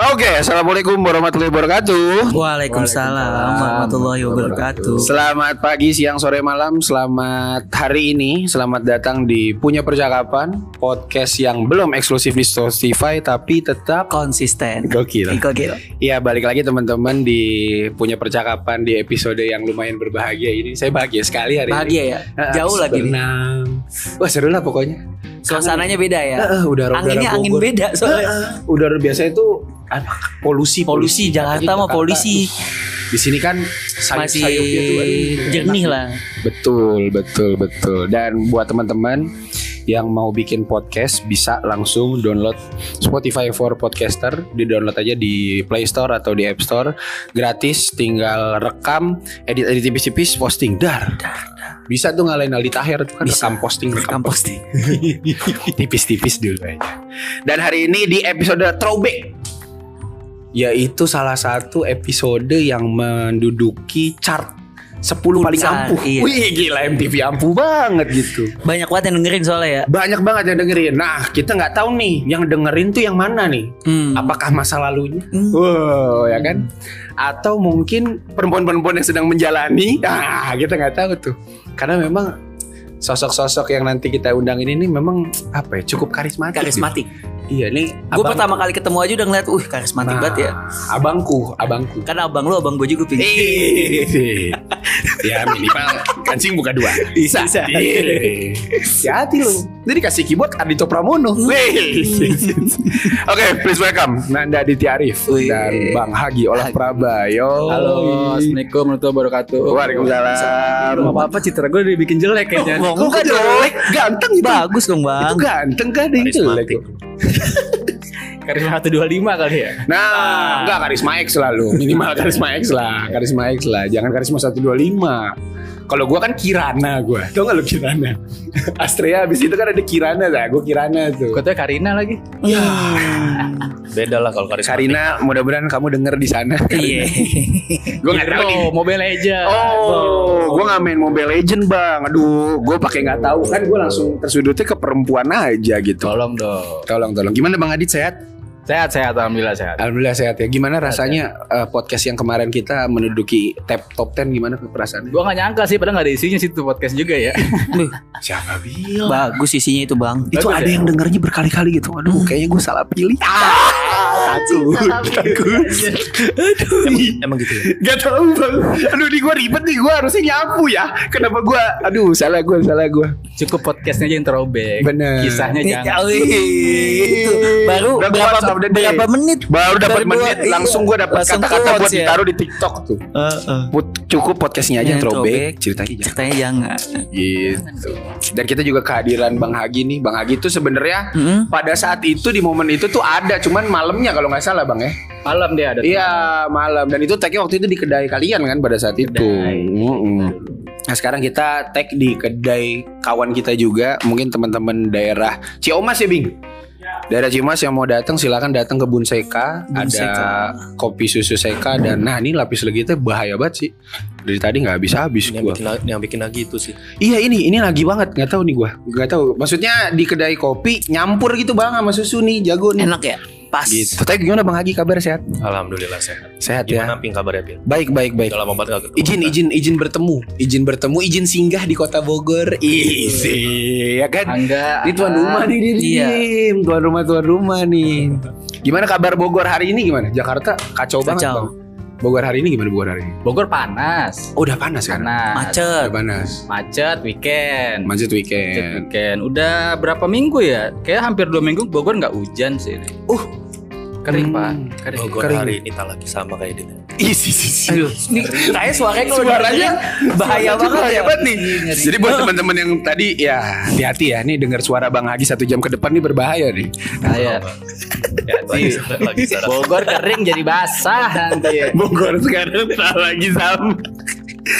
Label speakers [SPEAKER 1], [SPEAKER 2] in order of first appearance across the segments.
[SPEAKER 1] Oke, assalamualaikum warahmatullahi wabarakatuh.
[SPEAKER 2] Waalaikumsalam warahmatullahi wabarakatuh.
[SPEAKER 1] Selamat pagi, siang, sore, malam. Selamat hari ini. Selamat datang di Punya Percakapan, podcast yang belum eksklusif di Spotify tapi tetap
[SPEAKER 2] Konsisten. Eh,
[SPEAKER 1] gokil.
[SPEAKER 2] Gokil.
[SPEAKER 1] Ya balik lagi teman-teman di Punya Percakapan di episode yang lumayan berbahagia ini. Saya bahagia sekali hari
[SPEAKER 2] Bahagia
[SPEAKER 1] ini.
[SPEAKER 2] ya. Jauh
[SPEAKER 1] Habis
[SPEAKER 2] lagi nih.
[SPEAKER 1] berenang. Wah seru lah pokoknya.
[SPEAKER 2] Suasananya beda ya.
[SPEAKER 1] Eh, eh, udara
[SPEAKER 2] Anginnya angin
[SPEAKER 1] eh,
[SPEAKER 2] beda soalnya.
[SPEAKER 1] Ah, udara biasanya itu apa, polusi
[SPEAKER 2] Polusi Jakarta
[SPEAKER 1] Apalagi
[SPEAKER 2] mah polisi
[SPEAKER 1] di sini kan sayur
[SPEAKER 2] masih
[SPEAKER 1] sayurnya tuh gitu, aduh,
[SPEAKER 2] jernih
[SPEAKER 1] enak.
[SPEAKER 2] lah.
[SPEAKER 1] betul betul betul dan buat teman-teman yang mau bikin podcast bisa langsung download Spotify for Podcaster di download aja di Play Store atau di App Store gratis tinggal rekam edit edit tipis-tipis posting dar bisa tuh ngalahin Aldi Tahir tuh kan
[SPEAKER 2] Bisa.
[SPEAKER 1] rekam posting rekam
[SPEAKER 2] Rekam posting.
[SPEAKER 1] tipis-tipis dulu aja. Dan hari ini di episode throwback yaitu salah satu episode yang menduduki chart 10 paling
[SPEAKER 2] Chart,
[SPEAKER 1] ampuh.
[SPEAKER 2] iya.
[SPEAKER 1] Wih, gila MTV ampuh banget gitu.
[SPEAKER 2] Banyak banget yang dengerin soalnya ya.
[SPEAKER 1] Banyak banget yang dengerin. Nah, kita nggak tahu nih yang dengerin tuh yang mana nih?
[SPEAKER 2] Hmm.
[SPEAKER 1] Apakah masa lalunya?
[SPEAKER 2] Hmm.
[SPEAKER 1] Wow, ya kan? Atau mungkin perempuan-perempuan yang sedang menjalani? Ah, kita nggak tahu tuh. Karena memang sosok-sosok yang nanti kita undang ini nih memang apa ya? Cukup karismatik.
[SPEAKER 2] Karismatik.
[SPEAKER 1] Iya nih.
[SPEAKER 2] Gue pertama kali ketemu aja udah ngeliat, uh karismatik banget ya.
[SPEAKER 1] Nah. Abangku, abangku.
[SPEAKER 2] Karena abang lu, abang gue juga pingin.
[SPEAKER 1] Eh, ya minimal kancing buka dua. Bisa.
[SPEAKER 2] Bisa.
[SPEAKER 1] Eh, Hati-hati lu. Jadi kasih keyboard Adito Pramono. Wih. Oke, please welcome Nanda Aditya Arif
[SPEAKER 2] Wih.
[SPEAKER 1] dan Bang Hagi Olah
[SPEAKER 2] Hagi.
[SPEAKER 1] Prabayo.
[SPEAKER 2] Oh,
[SPEAKER 3] Halo,
[SPEAKER 2] iya.
[SPEAKER 3] assalamualaikum warahmatullahi wabarakatuh.
[SPEAKER 1] Waalaikumsalam.
[SPEAKER 3] Gak apa-apa citra gue dibikin jelek kayaknya.
[SPEAKER 2] Wah,
[SPEAKER 1] Kok
[SPEAKER 2] muka
[SPEAKER 1] gak jelek? Ganteng itu. kan
[SPEAKER 2] Bagus dong
[SPEAKER 1] Itu
[SPEAKER 2] bang.
[SPEAKER 1] ganteng kan yang jelek.
[SPEAKER 3] Karismatik. Karisma 125 kali ya.
[SPEAKER 1] Nah, enggak karisma X lah lu. Minimal karisma X lah, karisma X lah. Jangan karisma 125. Kalau gua kan Kirana gua. Tau gak lu Kirana? Astrea abis itu kan ada Kirana lah. Gua Kirana tuh. Ya.
[SPEAKER 3] Kotanya Karina lagi.
[SPEAKER 2] Iya.
[SPEAKER 3] Beda lah kalau Karisma.
[SPEAKER 1] Karina, mudah-mudahan kamu denger di sana.
[SPEAKER 2] Iya.
[SPEAKER 1] Gua enggak tahu nih.
[SPEAKER 3] Oh, Mobile Legends.
[SPEAKER 1] Oh, gua nggak main Mobile Legend bang. Aduh, gua pakai nggak tahu kan. Gua langsung tersudutnya ke perempuan aja gitu.
[SPEAKER 3] Tolong dong.
[SPEAKER 1] Tolong, tolong. Gimana bang Adit sehat?
[SPEAKER 3] Sehat sehat alhamdulillah sehat.
[SPEAKER 1] Alhamdulillah sehat ya. Gimana rasanya eh, podcast yang kemarin kita menduduki tab top 10 gimana perasaannya?
[SPEAKER 3] Gua gak nyangka sih padahal gak ada isinya situ podcast juga ya.
[SPEAKER 2] Duh,
[SPEAKER 1] Siapa bilang?
[SPEAKER 2] Bagus isinya itu bang.
[SPEAKER 1] itu
[SPEAKER 3] Bagus
[SPEAKER 1] ada
[SPEAKER 3] ya?
[SPEAKER 1] yang dengarnya berkali-kali gitu. Aduh, kayaknya gue salah pilih. Ah, takut, takut.
[SPEAKER 3] Emang gitu
[SPEAKER 2] Eh,
[SPEAKER 3] ya.
[SPEAKER 1] Gak tau bang. Aduh, di gue ribet nih. Gue harusnya nyapu ya. Kenapa gue? Aduh, salah gue, salah gue.
[SPEAKER 3] Cukup podcastnya aja yang terobek.
[SPEAKER 1] Bener. Iya.
[SPEAKER 3] Kisahnya jangan.
[SPEAKER 2] ya, Wih, itu. Baru
[SPEAKER 1] Udah
[SPEAKER 2] berapa,
[SPEAKER 1] quotes of the day.
[SPEAKER 2] berapa menit?
[SPEAKER 1] Baru dapat
[SPEAKER 2] Baru
[SPEAKER 1] menit,
[SPEAKER 2] dua- iya.
[SPEAKER 1] langsung gue dapat
[SPEAKER 2] Langsung
[SPEAKER 1] kata-kata
[SPEAKER 2] quotes
[SPEAKER 1] buat
[SPEAKER 2] ya.
[SPEAKER 1] ditaruh di TikTok tuh. Put- cukup podcastnya aja yang
[SPEAKER 2] Yang
[SPEAKER 1] Iya, throwback,
[SPEAKER 2] throwback.
[SPEAKER 1] ceritanya jangan.
[SPEAKER 2] Ceritanya jangan.
[SPEAKER 1] Gitu. Dan kita juga kehadiran Bang Hagi nih. Bang Hagi tuh sebenarnya
[SPEAKER 2] Mm-mm.
[SPEAKER 1] pada saat itu di momen itu tuh ada, cuman malamnya kalau nggak salah bang ya.
[SPEAKER 3] Malam dia ada.
[SPEAKER 1] Iya malam dan itu tagnya waktu itu di kedai kalian kan pada saat itu.
[SPEAKER 3] Kedai.
[SPEAKER 1] Mm-mm. Nah sekarang kita tag di kedai kawan kita juga mungkin teman-teman daerah Ciomas ya Bing. Daerah Cimas yang mau datang silakan datang ke Bun Seka.
[SPEAKER 2] Bun
[SPEAKER 1] ada
[SPEAKER 2] Seka.
[SPEAKER 1] kopi susu Seka dan nah ini lapis legitnya bahaya banget sih. Dari tadi nggak habis-habis
[SPEAKER 4] Ini yang
[SPEAKER 1] gua.
[SPEAKER 4] bikin, la- yang bikin lagi itu sih.
[SPEAKER 1] Iya ini ini lagi banget nggak tahu nih gua. Nggak tahu. Maksudnya di kedai kopi nyampur gitu Bang sama susu nih jago nih.
[SPEAKER 2] Enak ya? Pas.
[SPEAKER 1] Gitu. Tapi gimana Bang Hagi kabar sehat?
[SPEAKER 4] Alhamdulillah sehat.
[SPEAKER 1] Sehat
[SPEAKER 4] Gimana ping kabarnya
[SPEAKER 1] ya.
[SPEAKER 4] Pin?
[SPEAKER 1] Baik baik baik.
[SPEAKER 4] Udah lama banget gak ketemu.
[SPEAKER 1] izin izin izin bertemu izin bertemu izin singgah di kota Bogor easy ya kan
[SPEAKER 3] Angga.
[SPEAKER 1] ini tuan rumah nih dia
[SPEAKER 2] Iya.
[SPEAKER 1] Dim. tuan rumah tuan rumah nih gimana kabar Bogor hari ini gimana Jakarta kacau, banget
[SPEAKER 2] Kacau.
[SPEAKER 1] bang Bogor hari ini gimana Bogor hari ini
[SPEAKER 3] Bogor panas.
[SPEAKER 1] oh, udah panas kan
[SPEAKER 3] Panas.
[SPEAKER 1] udah
[SPEAKER 2] Macet.
[SPEAKER 1] panas
[SPEAKER 3] Macet weekend.
[SPEAKER 1] macet
[SPEAKER 3] Cek
[SPEAKER 1] weekend
[SPEAKER 3] weekend. Udah berapa minggu ya? Kayak hampir dua minggu Bogor nggak hujan sih. ini.
[SPEAKER 1] Uh.
[SPEAKER 3] kering
[SPEAKER 1] Hmm.
[SPEAKER 3] pak. Kering.
[SPEAKER 4] Bogor
[SPEAKER 1] Kering. Ya.
[SPEAKER 4] hari ini tak lagi sama kayak dia.
[SPEAKER 1] isi isi
[SPEAKER 3] Aduh.
[SPEAKER 2] Nih, kayaknya suaranya kalau
[SPEAKER 1] Eh, Suaranya
[SPEAKER 2] dengerin bahaya banget
[SPEAKER 1] bahaya
[SPEAKER 2] ya.
[SPEAKER 1] banget nih. Jadi buat teman-teman yang tadi ya hati-hati ya nih dengar suara Bang Hagi satu jam ke depan nih berbahaya nih.
[SPEAKER 3] Kayak
[SPEAKER 4] Ya, lagi lagi sama.
[SPEAKER 3] Bogor kering jadi basah nanti.
[SPEAKER 1] Iya.
[SPEAKER 3] ya.
[SPEAKER 1] Bogor sekarang tak lagi sama.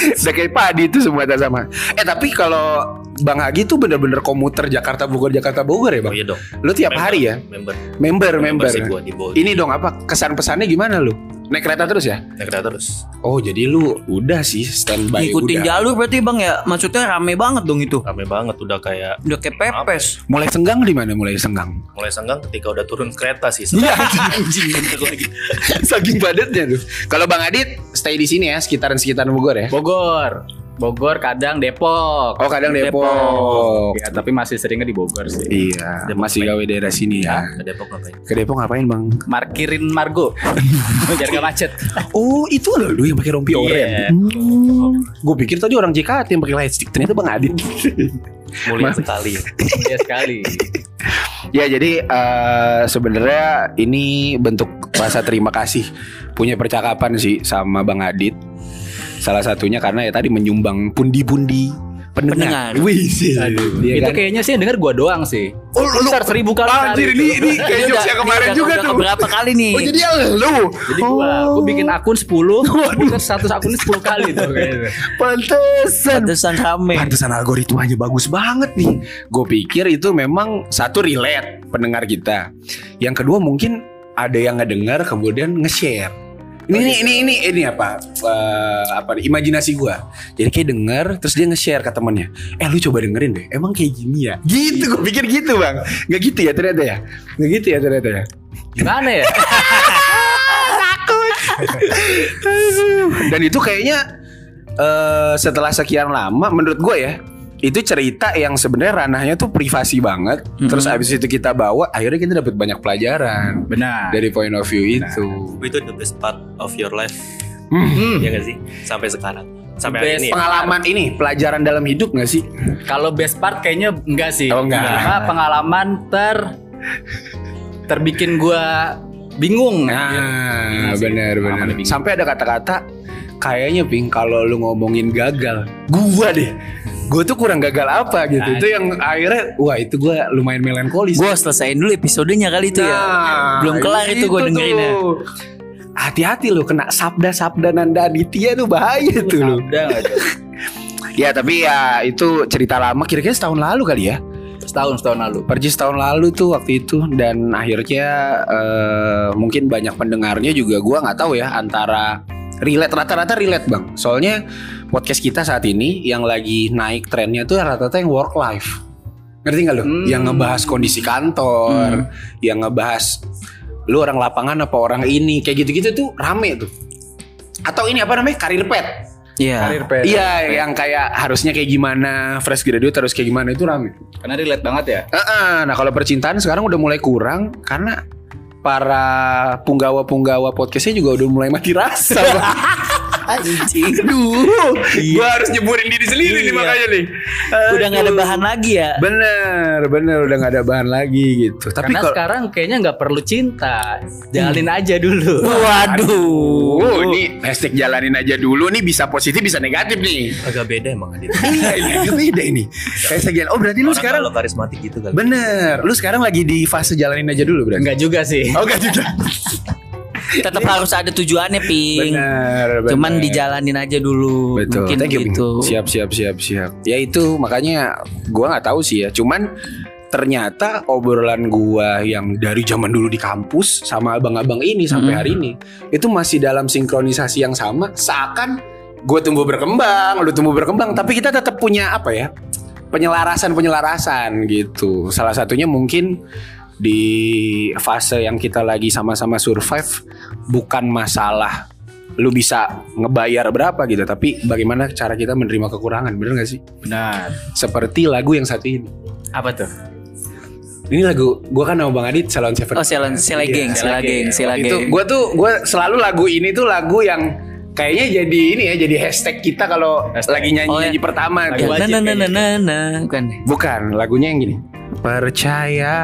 [SPEAKER 1] Udah kayak padi itu semua tak sama. Eh tapi kalau Bang Agi tuh bener-bener komuter Jakarta Bogor Jakarta Bogor ya
[SPEAKER 4] Oh
[SPEAKER 1] bang?
[SPEAKER 4] iya dong.
[SPEAKER 1] Lu tiap
[SPEAKER 4] Member.
[SPEAKER 1] hari ya?
[SPEAKER 4] Member.
[SPEAKER 1] Member ya? member.
[SPEAKER 4] sih gua di bawah.
[SPEAKER 1] Ini dong apa kesan pesannya gimana lu? Naik kereta terus ya?
[SPEAKER 4] Naik kereta terus.
[SPEAKER 1] Oh jadi lu udah sih standby
[SPEAKER 2] Ngikutin
[SPEAKER 1] udah.
[SPEAKER 2] jalur berarti bang ya Maksudnya rame banget dong itu
[SPEAKER 4] Rame banget udah kayak
[SPEAKER 2] Udah kayak pepes
[SPEAKER 1] Mulai senggang di mana? Mulai senggang.
[SPEAKER 4] mulai senggang ketika udah turun kereta sih.
[SPEAKER 1] Iya.
[SPEAKER 4] anjing gitu lagi.
[SPEAKER 1] Saking padatnya tuh. Kalau Bang Adit stay di sini ya sekitaran sekitaran Bogor ya.
[SPEAKER 3] Bogor. Bogor kadang Depok.
[SPEAKER 1] Oh, kadang Depok.
[SPEAKER 3] Ya, tapi masih seringnya di Bogor sih.
[SPEAKER 1] Iya, masih gawe daerah sini ya.
[SPEAKER 4] Ke Depok ngapain?
[SPEAKER 1] Ke Depok ngapain bang?
[SPEAKER 3] Markirin Margo. Biar gak macet.
[SPEAKER 1] Oh itu loh lu yang pakai rompi
[SPEAKER 3] Iya.
[SPEAKER 1] oranye.
[SPEAKER 3] Hmm.
[SPEAKER 1] Gue pikir tadi orang JKT yang pakai lightstick ternyata bang Adit.
[SPEAKER 4] Mulia
[SPEAKER 1] Mas-
[SPEAKER 4] sekali.
[SPEAKER 3] Iya sekali.
[SPEAKER 1] ya jadi eh, sebenarnya ini bentuk rasa terima kasih punya percakapan sih sama bang Adit. Salah satunya karena ya tadi menyumbang pundi-pundi pendengar.
[SPEAKER 2] Pendengar.
[SPEAKER 1] Wih sih. Iya
[SPEAKER 3] Itu
[SPEAKER 1] kan?
[SPEAKER 3] kayaknya sih yang denger gua doang sih.
[SPEAKER 1] Oh, lu-
[SPEAKER 3] Besar seribu kali.
[SPEAKER 1] Anjir,
[SPEAKER 3] kali
[SPEAKER 1] ini-
[SPEAKER 3] itu.
[SPEAKER 1] ini kayak jokes yang kemarin juga tuh.
[SPEAKER 2] Berapa kali nih
[SPEAKER 1] Oh jadi ya lu.
[SPEAKER 3] Jadi gua,
[SPEAKER 1] Oh.
[SPEAKER 3] gua bikin akun 10, bukan status akunnya 10 kali tuh kayaknya.
[SPEAKER 1] Pantesan.
[SPEAKER 2] Pantesan rame
[SPEAKER 1] Pantesan algoritmanya bagus banget nih. Gue pikir itu memang satu relate pendengar kita. Yang kedua mungkin ada yang ngedengar kemudian nge-share. Ini ini ini ini, ini apa? Eh, apa nih? Imajinasi gua. Jadi kayak denger terus dia nge-share ke temennya. Eh lu coba dengerin deh. Emang kayak gini ya? Gitu gue pikir gitu, Bang. Nggak gitu ya ternyata ya? Nggak gitu ya ternyata ya?
[SPEAKER 3] Gimana ya?
[SPEAKER 1] Dan itu kayaknya eh, setelah sekian lama menurut gue ya itu cerita yang sebenarnya ranahnya tuh privasi banget.
[SPEAKER 3] Mm-hmm.
[SPEAKER 1] Terus abis itu kita bawa, akhirnya kita dapat banyak pelajaran
[SPEAKER 3] Benar.
[SPEAKER 1] dari point of view itu.
[SPEAKER 4] Itu the best part of your life.
[SPEAKER 3] Hmm.
[SPEAKER 4] Iya gak sih? Sampai sekarang.
[SPEAKER 3] The
[SPEAKER 4] Sampai hari
[SPEAKER 3] best
[SPEAKER 4] ini.
[SPEAKER 1] Pengalaman ini pelajaran dalam hidup gak sih?
[SPEAKER 3] Kalau best part kayaknya enggak sih.
[SPEAKER 1] Oh, enggak.
[SPEAKER 3] Cuma pengalaman ter terbikin gua bingung.
[SPEAKER 1] Nah,
[SPEAKER 3] Iya sih. Pengalaman
[SPEAKER 1] benar-benar.
[SPEAKER 3] lebih.
[SPEAKER 1] Sampai ada kata-kata kayaknya ping kalau lu ngomongin gagal, gua deh. Gue tuh kurang gagal apa gitu.
[SPEAKER 3] Nah,
[SPEAKER 1] itu yang akhirnya wah itu gua lumayan melankolis.
[SPEAKER 2] Gue selesaiin dulu episodenya kali itu ya
[SPEAKER 1] Nah,
[SPEAKER 2] Belum kelar itu gue dengerinnya
[SPEAKER 1] tuh. Hati-hati lo kena sabda-sabda Nanda Aditya tuh bahaya tuh lo.
[SPEAKER 3] Udah enggak tuh.
[SPEAKER 1] Ya tapi ya itu cerita lama kira-kira setahun lalu kali ya.
[SPEAKER 3] Setahun setahun lalu.
[SPEAKER 1] Persis tahun lalu tuh waktu itu dan akhirnya eh, mungkin banyak pendengarnya juga gua nggak tahu ya antara relate rata-rata relate bang. Soalnya podcast kita saat ini yang lagi naik trennya tuh rata-rata yang work life. Ngerti nggak lo?
[SPEAKER 3] Hmm.
[SPEAKER 1] Yang ngebahas kondisi kantor, yang ngebahas lu orang lapangan apa orang ini kayak gitu-gitu tuh rame tuh. Atau ini apa namanya karir pet?
[SPEAKER 2] Iya
[SPEAKER 3] Karir pet.
[SPEAKER 1] Iya, yang kayak harusnya kayak gimana, fresh graduate harus kayak gimana itu rame.
[SPEAKER 3] Karena relate banget ya.
[SPEAKER 1] Heeh, nah kalau percintaan sekarang udah mulai kurang karena para punggawa-punggawa podcastnya juga udah mulai mati rasa. Bang.
[SPEAKER 2] Anjing
[SPEAKER 1] Aduh, gua harus nyeburin diri sendiri nih
[SPEAKER 2] Iya.
[SPEAKER 1] makanya nih.
[SPEAKER 2] Udah gak ada
[SPEAKER 1] Aduh.
[SPEAKER 2] bahan lagi ya
[SPEAKER 1] Bener, bener udah nggak ada bahan lagi gitu. Tapi
[SPEAKER 3] Karena
[SPEAKER 1] kalau Iya.
[SPEAKER 3] sekarang kayaknya nggak perlu cinta. Jalin aja dulu.
[SPEAKER 2] Waduh
[SPEAKER 1] Oh, ini hashtag jalanin aja dulu nih bisa positif bisa negatif nih.
[SPEAKER 4] Agak beda emang Adit.
[SPEAKER 1] Iya, ini agak beda ini. Hashtag jalan. Oh, berarti lu
[SPEAKER 4] Orang
[SPEAKER 1] sekarang
[SPEAKER 4] kalau karismatik gitu kali.
[SPEAKER 1] bener. Lu sekarang lagi di fase jalanin aja dulu berarti.
[SPEAKER 3] Enggak juga sih.
[SPEAKER 1] Oh, enggak juga.
[SPEAKER 2] Tetap harus ada tujuannya Ping
[SPEAKER 1] Bener, bener.
[SPEAKER 2] Iya. Cuman dijalanin aja dulu
[SPEAKER 1] Betul.
[SPEAKER 2] Mungkin
[SPEAKER 1] Thank you, Bing.
[SPEAKER 2] gitu
[SPEAKER 1] Siap, siap, siap, siap. Ya itu makanya gua nggak tahu sih ya. Cuman ternyata obrolan gua yang dari zaman dulu di kampus sama abang-abang ini sampai
[SPEAKER 2] Hmm.
[SPEAKER 1] hari ini itu masih dalam sinkronisasi yang sama seakan gue tumbuh berkembang, lu tumbuh berkembang, tapi kita tetap punya apa ya? Penyelarasan-penyelarasan gitu. Salah satunya mungkin di fase yang kita lagi sama-sama survive bukan masalah lu bisa ngebayar berapa gitu, tapi bagaimana cara kita menerima kekurangan, bener gak sih?
[SPEAKER 3] Benar.
[SPEAKER 1] Seperti lagu yang satu ini.
[SPEAKER 3] Apa tuh?
[SPEAKER 1] Ini lagu gua kan sama Bang Adit Salon Seven.
[SPEAKER 2] Oh Sela Sela
[SPEAKER 1] Iya.
[SPEAKER 2] Geng Sela Geng Sela
[SPEAKER 1] Itu
[SPEAKER 2] Geng
[SPEAKER 1] gue tuh gue selalu lagu ini tuh lagu yang kayaknya jadi ini ya jadi hashtag kita kalau
[SPEAKER 3] Hashtag.
[SPEAKER 1] lagi nyanyi nyanyi
[SPEAKER 2] Oh, ya.
[SPEAKER 1] pertama. gitu. tuh.
[SPEAKER 3] Lagu
[SPEAKER 2] Ya,
[SPEAKER 3] wajib
[SPEAKER 2] na na na
[SPEAKER 3] kayaknya.
[SPEAKER 2] na na
[SPEAKER 1] Gitu.
[SPEAKER 2] Bukan
[SPEAKER 1] Bukan lagunya yang gini. Percaya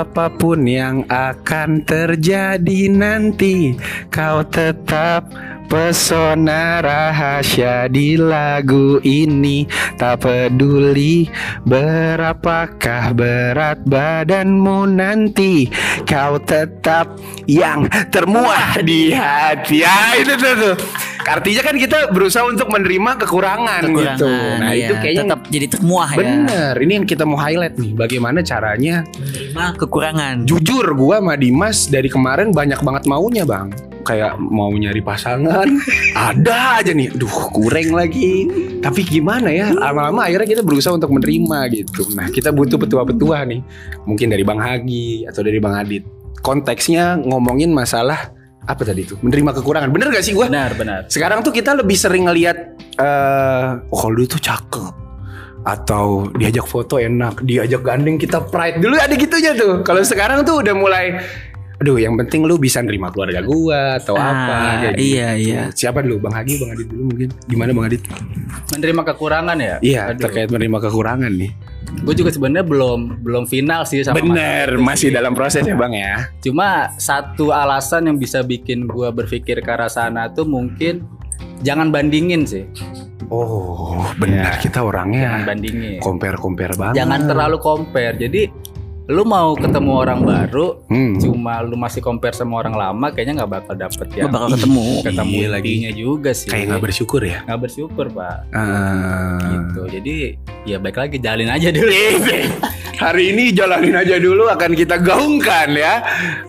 [SPEAKER 1] apapun yang akan terjadi nanti kau tetap pesona rahasia di lagu ini tak peduli berapakah berat badanmu nanti kau tetap yang termuah di hati ya itu tuh, tuh. Artinya kan kita berusaha untuk menerima kekurangan,
[SPEAKER 2] kekurangan
[SPEAKER 1] gitu. Nah,
[SPEAKER 2] ya.
[SPEAKER 1] itu kayaknya
[SPEAKER 2] tetap jadi temuah ya
[SPEAKER 1] bener. Ini yang kita mau highlight nih, bagaimana caranya
[SPEAKER 2] menerima kekurangan
[SPEAKER 1] jujur gua sama Dimas dari kemarin banyak banget maunya bang kayak mau nyari pasangan ada aja nih duh kurang lagi tapi gimana ya lama-lama akhirnya kita berusaha untuk menerima gitu nah kita butuh petua-petua nih mungkin dari Bang Hagi atau dari Bang Adit konteksnya ngomongin masalah apa tadi itu menerima kekurangan bener gak sih gua
[SPEAKER 3] Benar, benar.
[SPEAKER 1] sekarang tuh kita lebih sering ngelihat eh oh kalau dulu tuh cakep atau diajak foto enak, diajak gandeng kita pride. Dulu ada gitunya tuh.
[SPEAKER 3] Nah.
[SPEAKER 1] Kalau sekarang tuh udah mulai aduh yang penting lu bisa nerima keluarga gua atau
[SPEAKER 2] Ah,
[SPEAKER 1] apa kayak gitu.
[SPEAKER 2] iya iya
[SPEAKER 1] Siapa dulu Bang Hagi, Bang Adit dulu mungkin. Gimana Bang Adit?
[SPEAKER 3] Menerima kekurangan ya?
[SPEAKER 1] Iya,
[SPEAKER 3] Aduh,
[SPEAKER 1] terkait menerima kekurangan nih.
[SPEAKER 3] Gue juga sebenarnya belum belum final sih sama Mas
[SPEAKER 1] Bener,
[SPEAKER 3] Adit
[SPEAKER 1] masih
[SPEAKER 3] sih.
[SPEAKER 1] dalam proses ya Bang ya.
[SPEAKER 3] Cuma satu alasan yang bisa bikin gua berpikir ke arah sana tuh mungkin jangan bandingin sih,
[SPEAKER 1] Oh, benar kita
[SPEAKER 3] Iya. jangan
[SPEAKER 1] orangnya
[SPEAKER 3] bandingin.
[SPEAKER 1] compare-compare banget.
[SPEAKER 3] Jangan terlalu compare. Jadi lu mau ketemu orang baru,
[SPEAKER 1] Hmm.
[SPEAKER 3] cuma lu masih compare sama orang lama, kayaknya nggak bakal dapet ya.
[SPEAKER 2] Gua bakal ketemu
[SPEAKER 3] ketemu
[SPEAKER 1] Iya lagi.
[SPEAKER 3] intinya juga sih.
[SPEAKER 1] Kayak nggak bersyukur ya.
[SPEAKER 3] Nggak bersyukur pak.
[SPEAKER 1] Ah.
[SPEAKER 3] Gitu. Jadi ya baik lagi jalin aja dulu.
[SPEAKER 1] Iya. Hari ini jalanin aja dulu akan kita gaungkan ya.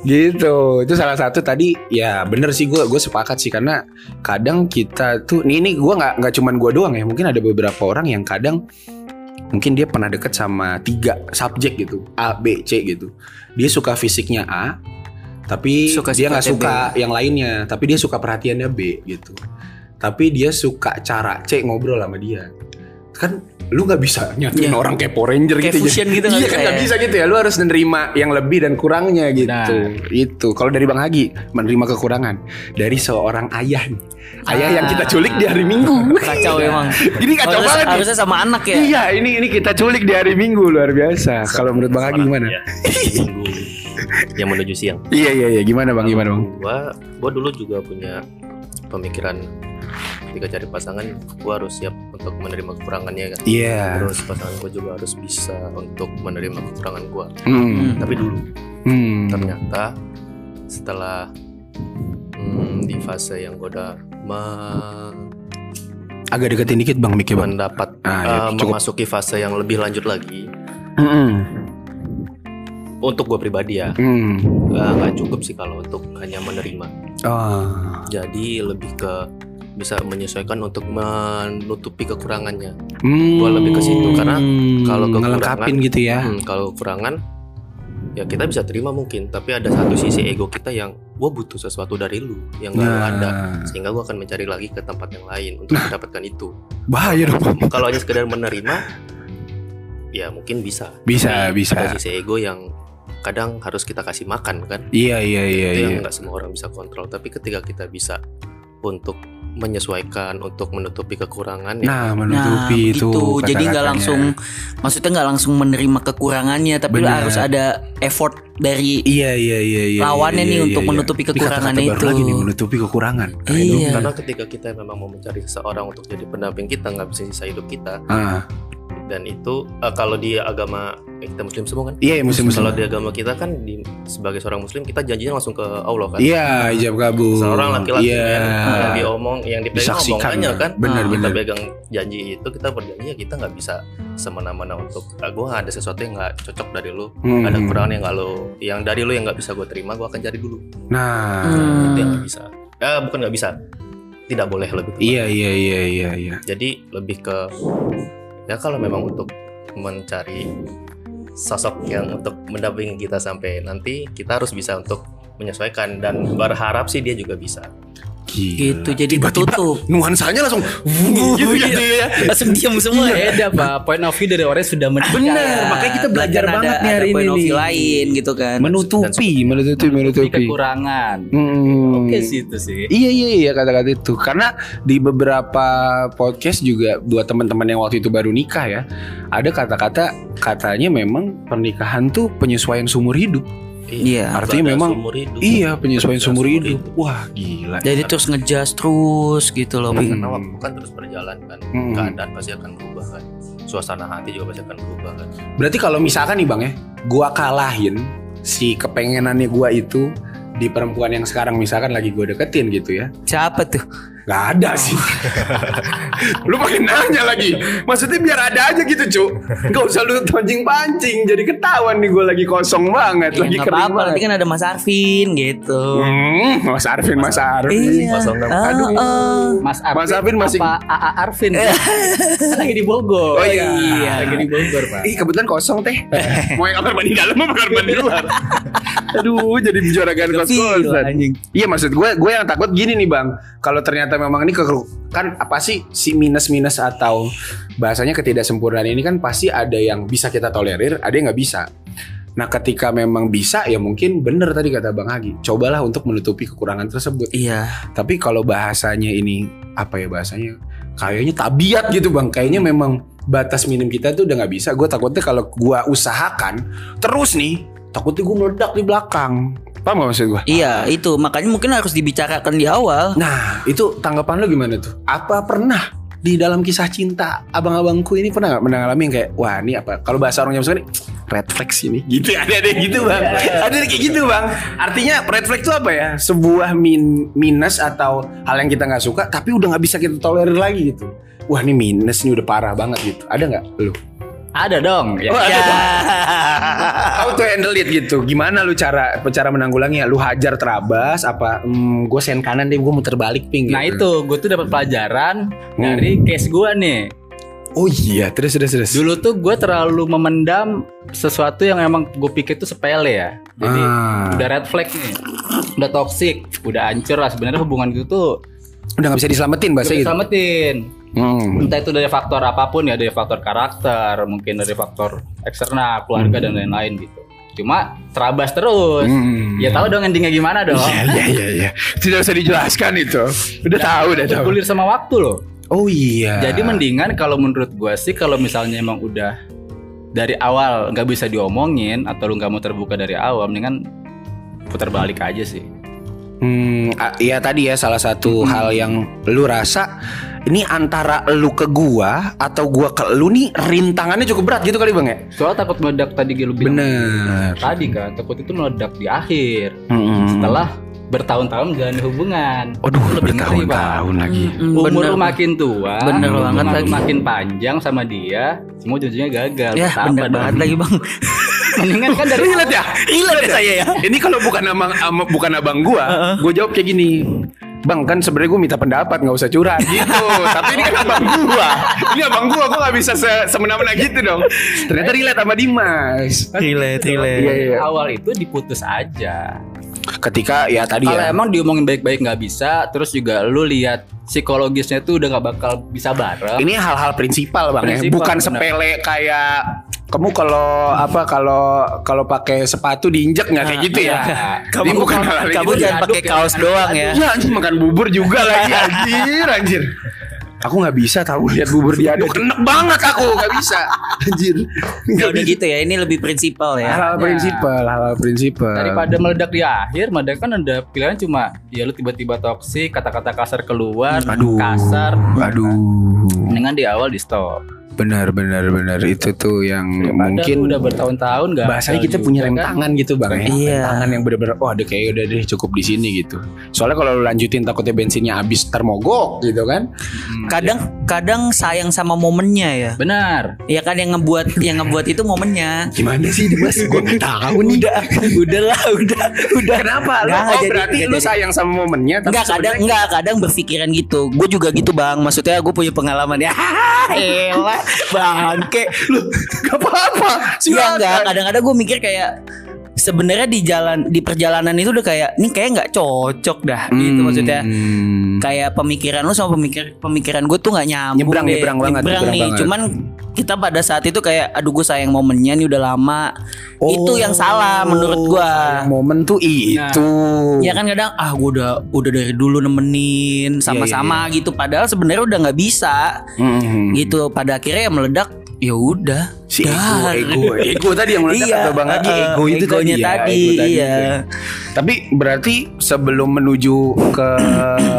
[SPEAKER 1] Gitu. Itu salah satu tadi ya bener sih gue gue sepakat sih karena kadang kita tuh nih ini gue nggak nggak cuman gue doang ya mungkin ada beberapa orang yang kadang mungkin dia pernah deket sama tiga subjek gitu A B C gitu. Dia suka fisiknya A tapi
[SPEAKER 2] Suka
[SPEAKER 1] dia nggak
[SPEAKER 2] sifatnya
[SPEAKER 1] suka yang lainnya tapi dia suka perhatiannya B gitu. Tapi dia suka cara C ngobrol sama dia. Kan lu nggak bisa nyatuin
[SPEAKER 2] Iya.
[SPEAKER 1] orang kayak Power Ranger
[SPEAKER 2] kayak
[SPEAKER 1] gitu. ya
[SPEAKER 2] fusion gitu nggak
[SPEAKER 1] iya kan
[SPEAKER 2] bisa
[SPEAKER 1] nggak
[SPEAKER 2] ya.
[SPEAKER 1] bisa gitu ya. Lu harus menerima yang lebih dan kurangnya gitu.
[SPEAKER 3] Benar.
[SPEAKER 1] Itu kalau dari Bang Hagi menerima kekurangan dari seorang ayah. nih. Ayah yang kita culik di hari Minggu.
[SPEAKER 2] kacau emang
[SPEAKER 4] Ah.
[SPEAKER 1] ini kacau
[SPEAKER 2] Harus-
[SPEAKER 1] banget. nih.
[SPEAKER 2] harusnya sama anak ya
[SPEAKER 1] Iya, ini ini kita culik di hari Minggu luar biasa. Nah, Kalau menurut Bang Hagi
[SPEAKER 4] Orang,
[SPEAKER 1] gimana?
[SPEAKER 4] ya. Minggu yang menuju siang.
[SPEAKER 1] Iya iya iya, gimana Bang? Gimana Bang?
[SPEAKER 4] Gua, gua dulu juga punya pemikiran ketika cari pasangan, gua harus siap untuk menerima kekurangannya kan.
[SPEAKER 1] Iya.
[SPEAKER 4] Terus pasangan gua juga harus bisa untuk menerima kekurangan gua.
[SPEAKER 1] Hmm.
[SPEAKER 4] Tapi dulu
[SPEAKER 1] Hmm.
[SPEAKER 4] ternyata setelah hmm, di fase yang gua udah me-
[SPEAKER 1] Agak deketin dikit Bang Miki Bang.
[SPEAKER 4] mendapat
[SPEAKER 1] Ah, ya,
[SPEAKER 4] eh,
[SPEAKER 1] cukup.
[SPEAKER 4] memasuki fase yang lebih lanjut lagi
[SPEAKER 1] Hmm.
[SPEAKER 4] untuk gua pribadi ya
[SPEAKER 1] Hmm.
[SPEAKER 4] eh, nggak cukup sih kalau untuk hanya menerima
[SPEAKER 1] Ah.
[SPEAKER 4] jadi lebih ke bisa menyesuaikan untuk menutupi kekurangannya
[SPEAKER 1] Hmm.
[SPEAKER 4] Gua lebih ke situ, karena kalau kekurangan-
[SPEAKER 1] ngelengkapin gitu ya.
[SPEAKER 4] Hmm, kalau kekurangan ya kita bisa terima mungkin tapi ada satu sisi ego kita yang gue butuh sesuatu dari lu yang
[SPEAKER 1] Nah.
[SPEAKER 4] nggak lu ada sehingga gue akan mencari lagi ke tempat yang lain untuk mendapatkan itu
[SPEAKER 1] bahaya dong.
[SPEAKER 4] kalau hanya sekedar menerima ya mungkin bisa
[SPEAKER 1] Bisa,
[SPEAKER 4] Tapi
[SPEAKER 1] bisa.
[SPEAKER 4] ada sisi ego yang kadang harus kita kasih makan kan
[SPEAKER 1] Iya iya
[SPEAKER 2] Gitu
[SPEAKER 1] iya
[SPEAKER 4] itu
[SPEAKER 1] iya.
[SPEAKER 4] yang nggak semua orang bisa kontrol tapi ketika kita bisa untuk menyesuaikan untuk menutupi kekurangan ya
[SPEAKER 1] Nah,
[SPEAKER 2] Nah,
[SPEAKER 1] menutupi itu.
[SPEAKER 2] begitu. Jadi
[SPEAKER 1] kata-katanya.
[SPEAKER 2] nggak langsung, maksudnya nggak langsung menerima kekurangannya, tapi lu
[SPEAKER 1] Benar.
[SPEAKER 2] harus ada effort dari
[SPEAKER 1] Iya iya iya iya.
[SPEAKER 2] lawannya
[SPEAKER 1] iya,
[SPEAKER 2] nih
[SPEAKER 1] iya,
[SPEAKER 2] untuk
[SPEAKER 1] iya.
[SPEAKER 2] menutupi
[SPEAKER 1] Ini kata-kata
[SPEAKER 2] kekurangannya
[SPEAKER 1] baru
[SPEAKER 2] itu.
[SPEAKER 1] lagi nih menutupi kekurangan. Nah, kan- Keren
[SPEAKER 2] Iya.
[SPEAKER 1] juga.
[SPEAKER 4] karena ketika kita memang mau mencari seseorang untuk jadi pendamping kita nggak bisa sisa hidup kita
[SPEAKER 1] Ah,
[SPEAKER 4] dan itu eh, kalau di agama eh, kita muslim semua kan
[SPEAKER 1] iya musim musim.
[SPEAKER 4] kalau di agama kita kan di, sebagai seorang muslim kita janjinya langsung ke Allah kan
[SPEAKER 1] Iya, ijab kabul.
[SPEAKER 4] seorang laki-laki
[SPEAKER 1] Iya.
[SPEAKER 4] kan, yang diomong yang dipegang
[SPEAKER 1] Disaksikan.
[SPEAKER 4] omongannya kan
[SPEAKER 1] Benar
[SPEAKER 2] Nah,
[SPEAKER 4] kita
[SPEAKER 1] benar.
[SPEAKER 4] pegang janji itu kita berjanji ya kita nggak bisa semena-mena untuk ah, gua ada sesuatu yang nggak cocok dari lu
[SPEAKER 1] Hmm.
[SPEAKER 4] ada kekurangan yang nggak lu yang dari lu yang nggak bisa gue terima gua akan cari dulu
[SPEAKER 1] Nah,
[SPEAKER 2] Hmm.
[SPEAKER 4] itu yang nggak bisa eh, bukan nggak bisa tidak boleh lebih tepat.
[SPEAKER 1] iya iya iya iya iya.
[SPEAKER 4] jadi lebih ke ya kalau memang untuk mencari sosok yang untuk mendampingi kita sampai nanti kita harus bisa untuk menyesuaikan dan berharap sih dia juga bisa
[SPEAKER 1] Gila.
[SPEAKER 2] Gitu, jadi
[SPEAKER 1] Tiba-tiba
[SPEAKER 2] tertutup.
[SPEAKER 1] Nuansanya langsung wuh, gitu
[SPEAKER 3] Iya.
[SPEAKER 1] ya.
[SPEAKER 2] ya. Langsung diam semua ya.
[SPEAKER 3] Beda pak. Point of view dari orang yang sudah menikah.
[SPEAKER 1] Iya. Benar, makanya kita belajar
[SPEAKER 2] Dan ada-
[SPEAKER 1] banget nih
[SPEAKER 2] ada
[SPEAKER 1] hari
[SPEAKER 2] point
[SPEAKER 1] ini
[SPEAKER 2] of view
[SPEAKER 1] nih.
[SPEAKER 2] lain gitu kan.
[SPEAKER 1] Menutupi, menutupi,
[SPEAKER 3] Jadi
[SPEAKER 1] menutupi.
[SPEAKER 3] kekurangan.
[SPEAKER 1] Hmm.
[SPEAKER 3] Oke sih itu sih.
[SPEAKER 1] Iya iya iya kata-kata itu karena di beberapa podcast juga buat teman-teman yang waktu itu baru nikah ya ada kata-kata katanya memang pernikahan tuh penyesuaian seumur hidup
[SPEAKER 2] Iya.
[SPEAKER 1] Artinya
[SPEAKER 4] Batas
[SPEAKER 1] memang-
[SPEAKER 4] umur hidup.
[SPEAKER 1] iya penyesuaian
[SPEAKER 4] Batas
[SPEAKER 1] seumur hidup wah gila
[SPEAKER 2] Jadi terus ngejas terus gitu loh.
[SPEAKER 4] Tapi
[SPEAKER 2] Pi.
[SPEAKER 4] karena waktu kan terus berjalan kan
[SPEAKER 1] Hmm.
[SPEAKER 4] keadaan pasti akan berubah kan suasana hati juga pasti akan berubah kan
[SPEAKER 1] berarti kalau misalkan nih bang ya gua kalahin si kepengenannya gua itu di perempuan yang sekarang misalkan lagi gue deketin gitu ya
[SPEAKER 2] Siapa tuh?
[SPEAKER 1] Gak
[SPEAKER 2] Oh.
[SPEAKER 1] ada sih Lu makin nanya lagi Maksudnya biar ada aja gitu cu Gak usah lu pancing-pancing Jadi ketahuan nih gue lagi kosong banget
[SPEAKER 2] Ya
[SPEAKER 1] Lagi
[SPEAKER 2] nggak
[SPEAKER 1] kering
[SPEAKER 2] apa-apa. Nanti
[SPEAKER 1] banget
[SPEAKER 2] kan ada Mas Arvin gitu.
[SPEAKER 1] Hmm, Mas Arvin, Mas Arvin
[SPEAKER 2] Iya.
[SPEAKER 4] Mas Ondam.
[SPEAKER 2] Ah,
[SPEAKER 1] Aduh.
[SPEAKER 2] ah.
[SPEAKER 3] Mas Arvin,
[SPEAKER 1] Mas Arvin masih- Iya.
[SPEAKER 3] apa AA Arvin? Kan lagi di Bogor.
[SPEAKER 1] Oh iya.
[SPEAKER 3] Lagi di Bogor, Pak.
[SPEAKER 1] Ih kebetulan kosong teh Mau yang kamar mandi dalam apa kamar mandi luar Aduh jadi juragan
[SPEAKER 2] Gokil,
[SPEAKER 1] kos-kosan
[SPEAKER 2] anjing.
[SPEAKER 1] Iya maksud gue Gue yang takut gini nih bang Kalau ternyata memang ini ke Kan apa sih Si minus-minus atau Bahasanya ketidaksempurnaan ini kan Pasti ada yang bisa kita tolerir Ada yang nggak bisa Nah ketika memang bisa Ya mungkin bener tadi kata Bang Hagi Cobalah untuk menutupi kekurangan tersebut
[SPEAKER 2] Iya.
[SPEAKER 1] tapi kalau bahasanya ini apa ya bahasanya? Kayaknya tabiat gitu bang. Kayaknya memang batas minim kita tuh udah nggak bisa. Gue takutnya kalau gue usahakan terus nih, takutnya gue meledak di belakang. Paham gak maksud gue?
[SPEAKER 2] Iya, itu makanya mungkin harus dibicarakan di awal.
[SPEAKER 1] Nah itu tanggapan lo gimana tuh? Apa pernah di dalam kisah cinta abang-abangku ini pernah nggak mengalami yang kayak wah ini apa? Kalau bahasa orang zaman sekarang "Cek, red flag sih ini gitu ada ada yang gitu bang
[SPEAKER 3] Iya.
[SPEAKER 1] ada yang kayak gitu bang artinya red flag itu apa ya sebuah min minus atau hal yang kita nggak suka tapi udah nggak bisa kita tolerir lagi gitu wah ini minus ini udah parah banget gitu ada nggak lu
[SPEAKER 3] Ada dong. Ya.
[SPEAKER 1] Oh, ada
[SPEAKER 2] Ya.
[SPEAKER 1] how to handle it gitu gimana lu cara cara menanggulangi lu hajar terabas apa hmm, gue sen kanan deh gue muter balik ping
[SPEAKER 3] Nah
[SPEAKER 1] gitu.
[SPEAKER 3] itu gue tuh dapat pelajaran
[SPEAKER 1] Hmm.
[SPEAKER 3] dari case gue nih.
[SPEAKER 1] Oh iya, terus terus terus.
[SPEAKER 3] Dulu tuh gue terlalu memendam sesuatu yang emang gue pikir tuh sepele ya. Jadi
[SPEAKER 1] Ah.
[SPEAKER 3] udah red flag nih, udah toxic, udah ancur lah sebenarnya hubungan gitu tuh.
[SPEAKER 1] udah nggak bisa diselamatin bahasa gitu.
[SPEAKER 3] Gue selamatin.
[SPEAKER 1] Hmm.
[SPEAKER 3] Entah itu dari faktor apapun ya, dari faktor karakter, mungkin dari faktor eksternal, keluarga dan lain-lain gitu. Cuma terabas terus.
[SPEAKER 1] Hmm.
[SPEAKER 3] Ya tahu dong endingnya gimana dong.
[SPEAKER 1] Iya iya iya iya. Tidak usah dijelaskan itu. Udah tahu udah tahu.
[SPEAKER 3] Bergulir sama waktu loh.
[SPEAKER 1] Oh iya.
[SPEAKER 3] Jadi mendingan kalau menurut gua sih kalau misalnya emang udah dari awal nggak bisa diomongin atau lu nggak mau terbuka dari awal, mendingan putar balik aja sih.
[SPEAKER 1] Hmm, a- iya tadi ya salah satu hal yang lu rasa ini antara lu ke gua atau gua ke lu nih rintangannya cukup berat gitu kali bang ya.
[SPEAKER 3] Soalnya takut meledak tadi gitu
[SPEAKER 1] Bener.
[SPEAKER 3] Tadi kan takut itu meledak di akhir
[SPEAKER 1] Hmm.
[SPEAKER 3] setelah bertahun-tahun menjalani hubungan.
[SPEAKER 1] Aduh,
[SPEAKER 3] Itu lebih ngeri,
[SPEAKER 1] bertahun-tahun lagi.
[SPEAKER 2] Mm,
[SPEAKER 3] Umur
[SPEAKER 2] bener.
[SPEAKER 3] lu makin tua,
[SPEAKER 2] Bener
[SPEAKER 3] lu
[SPEAKER 2] banget
[SPEAKER 3] mak-
[SPEAKER 2] lagi.
[SPEAKER 3] makin panjang sama dia, semua jadinya gagal.
[SPEAKER 2] Ya,
[SPEAKER 3] Betapa
[SPEAKER 2] bener
[SPEAKER 3] dong.
[SPEAKER 2] banget lagi, Iya. Bang.
[SPEAKER 3] Mendingan kan
[SPEAKER 2] Eh,
[SPEAKER 3] dari
[SPEAKER 1] Lihat ya,
[SPEAKER 2] Gila deh saya ya.
[SPEAKER 1] ini kalau bukan abang ama- bukan abang gua, gua jawab kayak gini. Bang kan sebenarnya gua minta pendapat nggak usah curhat gitu. Tapi ini kan abang gua. Ini abang gua gua nggak bisa se- semena-mena gitu dong. Ternyata relate sama Dimas.
[SPEAKER 2] Eh. Relate,
[SPEAKER 1] Iya iya.
[SPEAKER 3] awal itu diputus aja.
[SPEAKER 1] Ketika ya
[SPEAKER 2] Iya.
[SPEAKER 1] tadi
[SPEAKER 3] Kalau
[SPEAKER 1] ya.
[SPEAKER 3] emang diomongin baik-baik nggak bisa, terus juga lu lihat psikologisnya tuh udah nggak bakal bisa
[SPEAKER 2] Iya.
[SPEAKER 3] bareng.
[SPEAKER 1] Ini hal-hal prinsipal bang ya,
[SPEAKER 3] Prinsipal,
[SPEAKER 1] bukan
[SPEAKER 3] benar.
[SPEAKER 1] sepele kayak kamu kalau apa kalau kalau pakai sepatu diinjek nggak kayak gitu ya?
[SPEAKER 2] Kamu
[SPEAKER 1] Ini bukan hal-hal
[SPEAKER 2] kamu
[SPEAKER 1] gitu.
[SPEAKER 2] jangan pakai kaos doang ya.
[SPEAKER 1] Ya anjir makan bubur juga lagi anjir anjir. Aku nggak bisa tahu lihat bubur dia aduh kenek banget aku nggak bisa anjir.
[SPEAKER 2] Ya udah gitu ya, ini lebih prinsipal ya.
[SPEAKER 1] Hal-hal prinsipal, hal-hal prinsipal.
[SPEAKER 3] Daripada meledak di akhir, meledak kan ada pilihan cuma ya lu tiba-tiba toksik, kata-kata kasar keluar,
[SPEAKER 2] Hmm,
[SPEAKER 1] Aduh.
[SPEAKER 3] kasar.
[SPEAKER 1] Aduh.
[SPEAKER 3] Mendingan di awal di stop.
[SPEAKER 1] Benar benar benar itu tuh yang
[SPEAKER 2] Ya,
[SPEAKER 1] mungkin
[SPEAKER 3] udah bertahun-tahun nggak.
[SPEAKER 1] bahasanya kita
[SPEAKER 3] juga
[SPEAKER 1] punya rem
[SPEAKER 3] kan.
[SPEAKER 1] tangan gitu bang ya
[SPEAKER 2] Iya.
[SPEAKER 1] rem tangan yang bener-bener oh ada kayak udah deh cukup di sini gitu soalnya kalau lu lanjutin takutnya bensinnya habis termogok gitu kan Iya.
[SPEAKER 2] Kadang kadang sayang sama momennya ya.
[SPEAKER 3] Benar.
[SPEAKER 2] Ya kan yang ngebuat yang ngebuat itu momennya.
[SPEAKER 1] gimana sih mas gue nggak tahu nih
[SPEAKER 2] Udah, udahlah, udah, udah.
[SPEAKER 1] kenapa lu
[SPEAKER 2] Nggak,
[SPEAKER 1] oh
[SPEAKER 2] jadi-
[SPEAKER 1] berarti
[SPEAKER 2] nggak
[SPEAKER 1] lu
[SPEAKER 2] jadi.
[SPEAKER 1] sayang sama momennya tapi
[SPEAKER 2] Enggak kadang
[SPEAKER 1] sebenarnya-
[SPEAKER 2] enggak kadang berpikiran gitu. Gue juga gitu bang. Maksudnya gue punya pengalaman ya. Elah bangke.
[SPEAKER 1] lu gak apa-apa
[SPEAKER 2] Iya
[SPEAKER 1] silakan
[SPEAKER 2] enggak. Kadang-kadang gue mikir kayak sebenarnya di jalan di perjalanan itu udah kayak ini kayak nggak cocok dah. Gitu
[SPEAKER 1] Hmm.
[SPEAKER 2] maksudnya. Kayak pemikiran lu sama pemikir pemikiran gue tuh nggak nyambung.
[SPEAKER 1] Nyebrang,
[SPEAKER 2] deh.
[SPEAKER 1] nyebrang banget,
[SPEAKER 2] Nyebrang
[SPEAKER 1] nyebrang
[SPEAKER 2] nih.
[SPEAKER 1] banget.
[SPEAKER 2] Cuman kita pada saat itu kayak aduh gue sayang momennya nih udah lama. Itu yang salah menurut gue.
[SPEAKER 1] Oh, Sayang momen tuh itu
[SPEAKER 2] Ya kan kadang ah gue udah udah dari dulu
[SPEAKER 1] Iya,
[SPEAKER 2] nemenin sama-sama gitu padahal sebenarnya udah nggak bisa
[SPEAKER 1] Mm.
[SPEAKER 2] gitu pada akhirnya ya meledak ya udah
[SPEAKER 1] si ego,
[SPEAKER 2] Dar.
[SPEAKER 1] ego, ego tadi yang melekat atau bang Adi,
[SPEAKER 2] eh,
[SPEAKER 1] ego itu tadi,
[SPEAKER 2] egonya
[SPEAKER 1] ya,
[SPEAKER 2] tadi,
[SPEAKER 1] ego tadi
[SPEAKER 2] iya.
[SPEAKER 1] itu. Tapi berarti sebelum menuju ke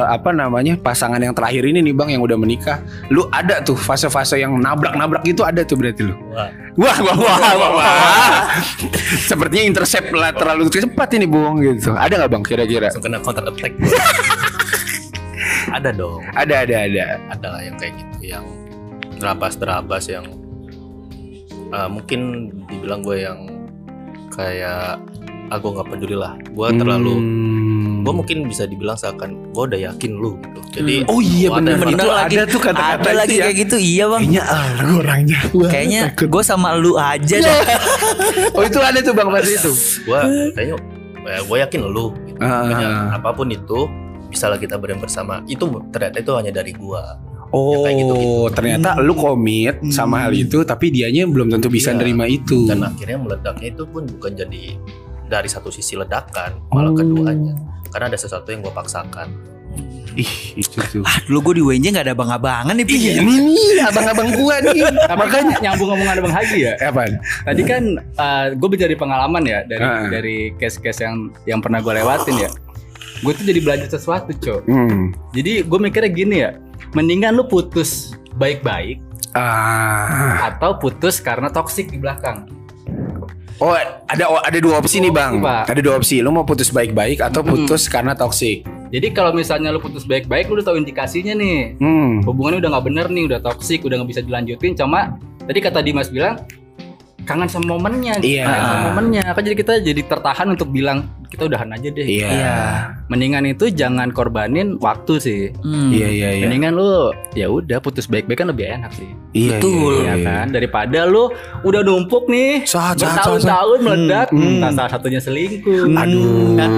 [SPEAKER 1] apa namanya pasangan yang terakhir ini nih bang yang udah menikah, lu ada tuh fase-fase yang nabrak-nabrak gitu ada tuh berarti lu.
[SPEAKER 4] Wah.
[SPEAKER 1] Wah, wah, wah, wah, wah. Sepertinya intercept lah terlalu cepat ini bohong gitu. Ada nggak bang kira-kira?
[SPEAKER 4] langsung kena counter attack gua. ada dong
[SPEAKER 1] Ada, ada, ada.
[SPEAKER 4] ada lah yang kayak gitu yang terabas terabas yang eh, mungkin dibilang gue yang kayak aku nggak peduli lah gue terlalu
[SPEAKER 1] Hmm.
[SPEAKER 4] gue mungkin bisa dibilang seakan gue udah yakin lu gitu jadi
[SPEAKER 1] Oh iya
[SPEAKER 4] Wah, ada
[SPEAKER 1] benar
[SPEAKER 2] Bener
[SPEAKER 1] itu
[SPEAKER 2] lagi,
[SPEAKER 1] ada tuh kata-kata
[SPEAKER 2] ada
[SPEAKER 1] itu
[SPEAKER 2] lagi
[SPEAKER 1] ya.
[SPEAKER 2] kayak gitu iya bang
[SPEAKER 1] Kayaknya ah, lu orangnya Wah,
[SPEAKER 2] kayaknya
[SPEAKER 1] takut.
[SPEAKER 2] gue sama lu aja dah
[SPEAKER 1] Oh itu ada tuh bang pasti itu.
[SPEAKER 4] gue kayaknya ya, gue yakin lu gitu.
[SPEAKER 1] Ah.
[SPEAKER 4] Kayaknya apapun itu bisa lah kita berem bersama itu ternyata itu hanya dari gue
[SPEAKER 1] Oh,
[SPEAKER 4] kayak gitu-gitu.
[SPEAKER 1] ternyata
[SPEAKER 2] gitu, Hmm.
[SPEAKER 1] lu komit sama
[SPEAKER 2] Hmm.
[SPEAKER 1] hal itu, tapi dianya belum tentu bisa
[SPEAKER 4] Iya.
[SPEAKER 1] nerima itu.
[SPEAKER 4] dan akhirnya meledaknya itu pun bukan jadi dari satu sisi ledakan malah
[SPEAKER 1] Oh.
[SPEAKER 4] keduanya karena ada sesuatu yang gue paksakan
[SPEAKER 1] Ih, itu tuh.
[SPEAKER 2] ah dulu gue di WNJ gak ada abang-abangan nih Pi.
[SPEAKER 1] Iya, ini nih abang-abang gua nih. Makanya
[SPEAKER 3] Makanya nyambung ngomongan Bang Haji ya.
[SPEAKER 1] Evan.
[SPEAKER 3] Tadi kan gue dari pengalaman ya dari
[SPEAKER 1] Ah.
[SPEAKER 3] dari case-case yang yang pernah gue lewatin ya. Gue tuh jadi belajar sesuatu, Cok.
[SPEAKER 1] Hmm.
[SPEAKER 3] Jadi gue mikirnya gini ya, mendingan lu putus baik-baik
[SPEAKER 1] Ah.
[SPEAKER 3] atau putus karena toksik di belakang.
[SPEAKER 1] Oh, ada ada dua opsi nih, Bang.
[SPEAKER 3] Opsi, Pak.
[SPEAKER 1] Ada dua opsi. Lu mau putus baik-baik atau putus karena toksik.
[SPEAKER 3] Jadi kalau misalnya lu putus baik-baik, lu udah tahu indikasinya nih.
[SPEAKER 1] Hmm.
[SPEAKER 3] Hubungannya udah nggak bener nih, udah toksik, udah nggak bisa dilanjutin. Cuma tadi kata Dimas bilang kangen sama momennya,
[SPEAKER 1] Iya.
[SPEAKER 3] kangen sama momennya. Kan jadi kita jadi tertahan untuk bilang kita udahan aja deh.
[SPEAKER 1] Iya.
[SPEAKER 3] Mendingan itu jangan korbanin waktu sih.
[SPEAKER 2] Hmm.
[SPEAKER 1] Iya, iya, iya.
[SPEAKER 3] Mendingan lu ya udah putus baik-baik kan lebih enak sih.
[SPEAKER 1] Iya,
[SPEAKER 2] Betul.
[SPEAKER 1] iya,
[SPEAKER 3] Iya
[SPEAKER 1] iya.
[SPEAKER 3] kan? Daripada lu udah numpuk nih
[SPEAKER 1] Saat, saat, saat, saat.
[SPEAKER 3] bertahun-tahun meledak,
[SPEAKER 1] Hmm, hmm.
[SPEAKER 3] entah salah satunya selingkuh.
[SPEAKER 1] Aduh.
[SPEAKER 3] Entah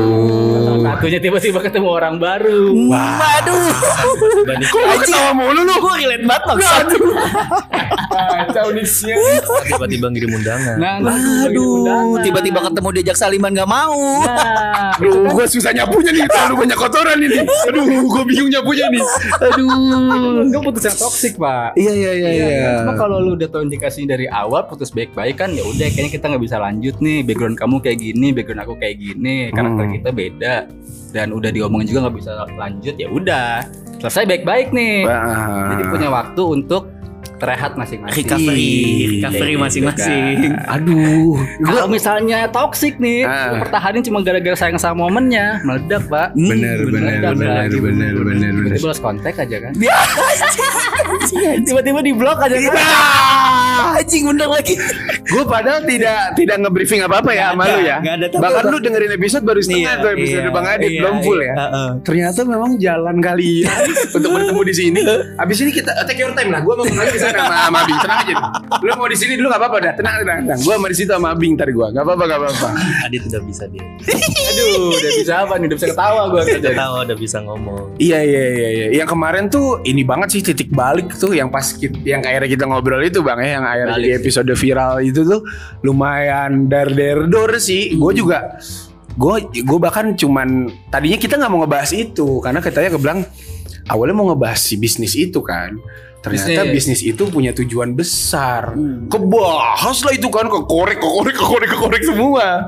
[SPEAKER 3] Salah satunya tiba-tiba ketemu orang baru.
[SPEAKER 2] Wah. Aduh.
[SPEAKER 4] dan itu
[SPEAKER 1] Kok ketawa mulu lu?
[SPEAKER 2] Gue relate banget maksud.
[SPEAKER 3] Kacau nih siang.
[SPEAKER 4] tiba-tiba ngirim undangan
[SPEAKER 3] Nah,
[SPEAKER 2] Aduh. Tiba-tiba ketemu diajak saliman gak mau.
[SPEAKER 3] Nah, gitu.
[SPEAKER 1] Aduh, gue susah nyapunya nih. Terlalu banyak kotoran ini. Aduh, gue bingung nyapunya nih. Aduh.
[SPEAKER 3] Itu putus yang toksik, Pak.
[SPEAKER 1] Iya, iya, iya, iya.
[SPEAKER 3] Cuma kalau lu udah tahu indikasinya dari awal putus baik-baik kan ya udah kayaknya kita nggak bisa lanjut nih background kamu kayak gini background aku kayak gini karakter
[SPEAKER 1] Hmm.
[SPEAKER 3] kita beda dan udah diomongin juga nggak bisa lanjut ya udah selesai baik-baik nih
[SPEAKER 1] Wah.
[SPEAKER 3] jadi punya waktu untuk terehat masing-masing
[SPEAKER 1] Recovery, recovery
[SPEAKER 3] Iya,
[SPEAKER 2] masing-masing.
[SPEAKER 3] gitu kan.
[SPEAKER 1] Aduh.
[SPEAKER 3] kalau misalnya toksik nih
[SPEAKER 1] Ah.
[SPEAKER 3] lu pertahanin cuma gara-gara sayang sama momennya meledak pak
[SPEAKER 2] Hmm,
[SPEAKER 1] Bener, bener,
[SPEAKER 3] meledak
[SPEAKER 1] bener,
[SPEAKER 3] lagi.
[SPEAKER 1] bener, bener, bener.
[SPEAKER 3] Tiba-tiba lost kontak aja kan
[SPEAKER 2] Dia tiba-tiba di blok aja kan. Anjing bener lagi.
[SPEAKER 1] Gue padahal tidak tidak ngebriefing apa-apa ya sama
[SPEAKER 2] Nggak
[SPEAKER 1] lu
[SPEAKER 2] ada,
[SPEAKER 1] ya.
[SPEAKER 2] nggak ada, tapi
[SPEAKER 1] Bahkan
[SPEAKER 2] apa-
[SPEAKER 1] lu dengerin episode baru setengah tuh episode
[SPEAKER 2] iya,
[SPEAKER 1] Bang Adit
[SPEAKER 2] iya,
[SPEAKER 1] belum full
[SPEAKER 2] iya,
[SPEAKER 1] ya.
[SPEAKER 2] heeh.
[SPEAKER 1] Ternyata memang jalan kali ya untuk bertemu di sini. Abis ini kita take your time lah. Gue mau kenal di sana sama, sama Abing. Tenang aja. deh. Lu mau di sini dulu nggak apa-apa dah. Tenang, tenang, tenang. Gue sama di situ sama Abing ntar gue. Nggak apa-apa, nggak apa-apa.
[SPEAKER 4] Adit udah bisa dia
[SPEAKER 3] aduh udah bisa apa nih udah bisa ketawa gue kerja
[SPEAKER 4] tahu udah bisa ngomong
[SPEAKER 1] Iya iya iya iya. Yang kemarin tuh ini banget sih titik balik tuh yang pas kita, yang akhirnya kita ngobrol itu bang ya, yang akhirnya
[SPEAKER 3] Balik
[SPEAKER 1] di
[SPEAKER 3] sih.
[SPEAKER 1] episode viral itu tuh lumayan dar der dor sih. Gue juga gue gue bahkan cuman tadinya kita nggak mau ngebahas itu karena katanya kebelang awalnya mau ngebahas si bisnis itu kan. Ternyata bisnis,
[SPEAKER 3] Bisnis.
[SPEAKER 1] itu punya tujuan besar. Kebahas lah itu kan kekorek kekorek kekorek kekorek semua.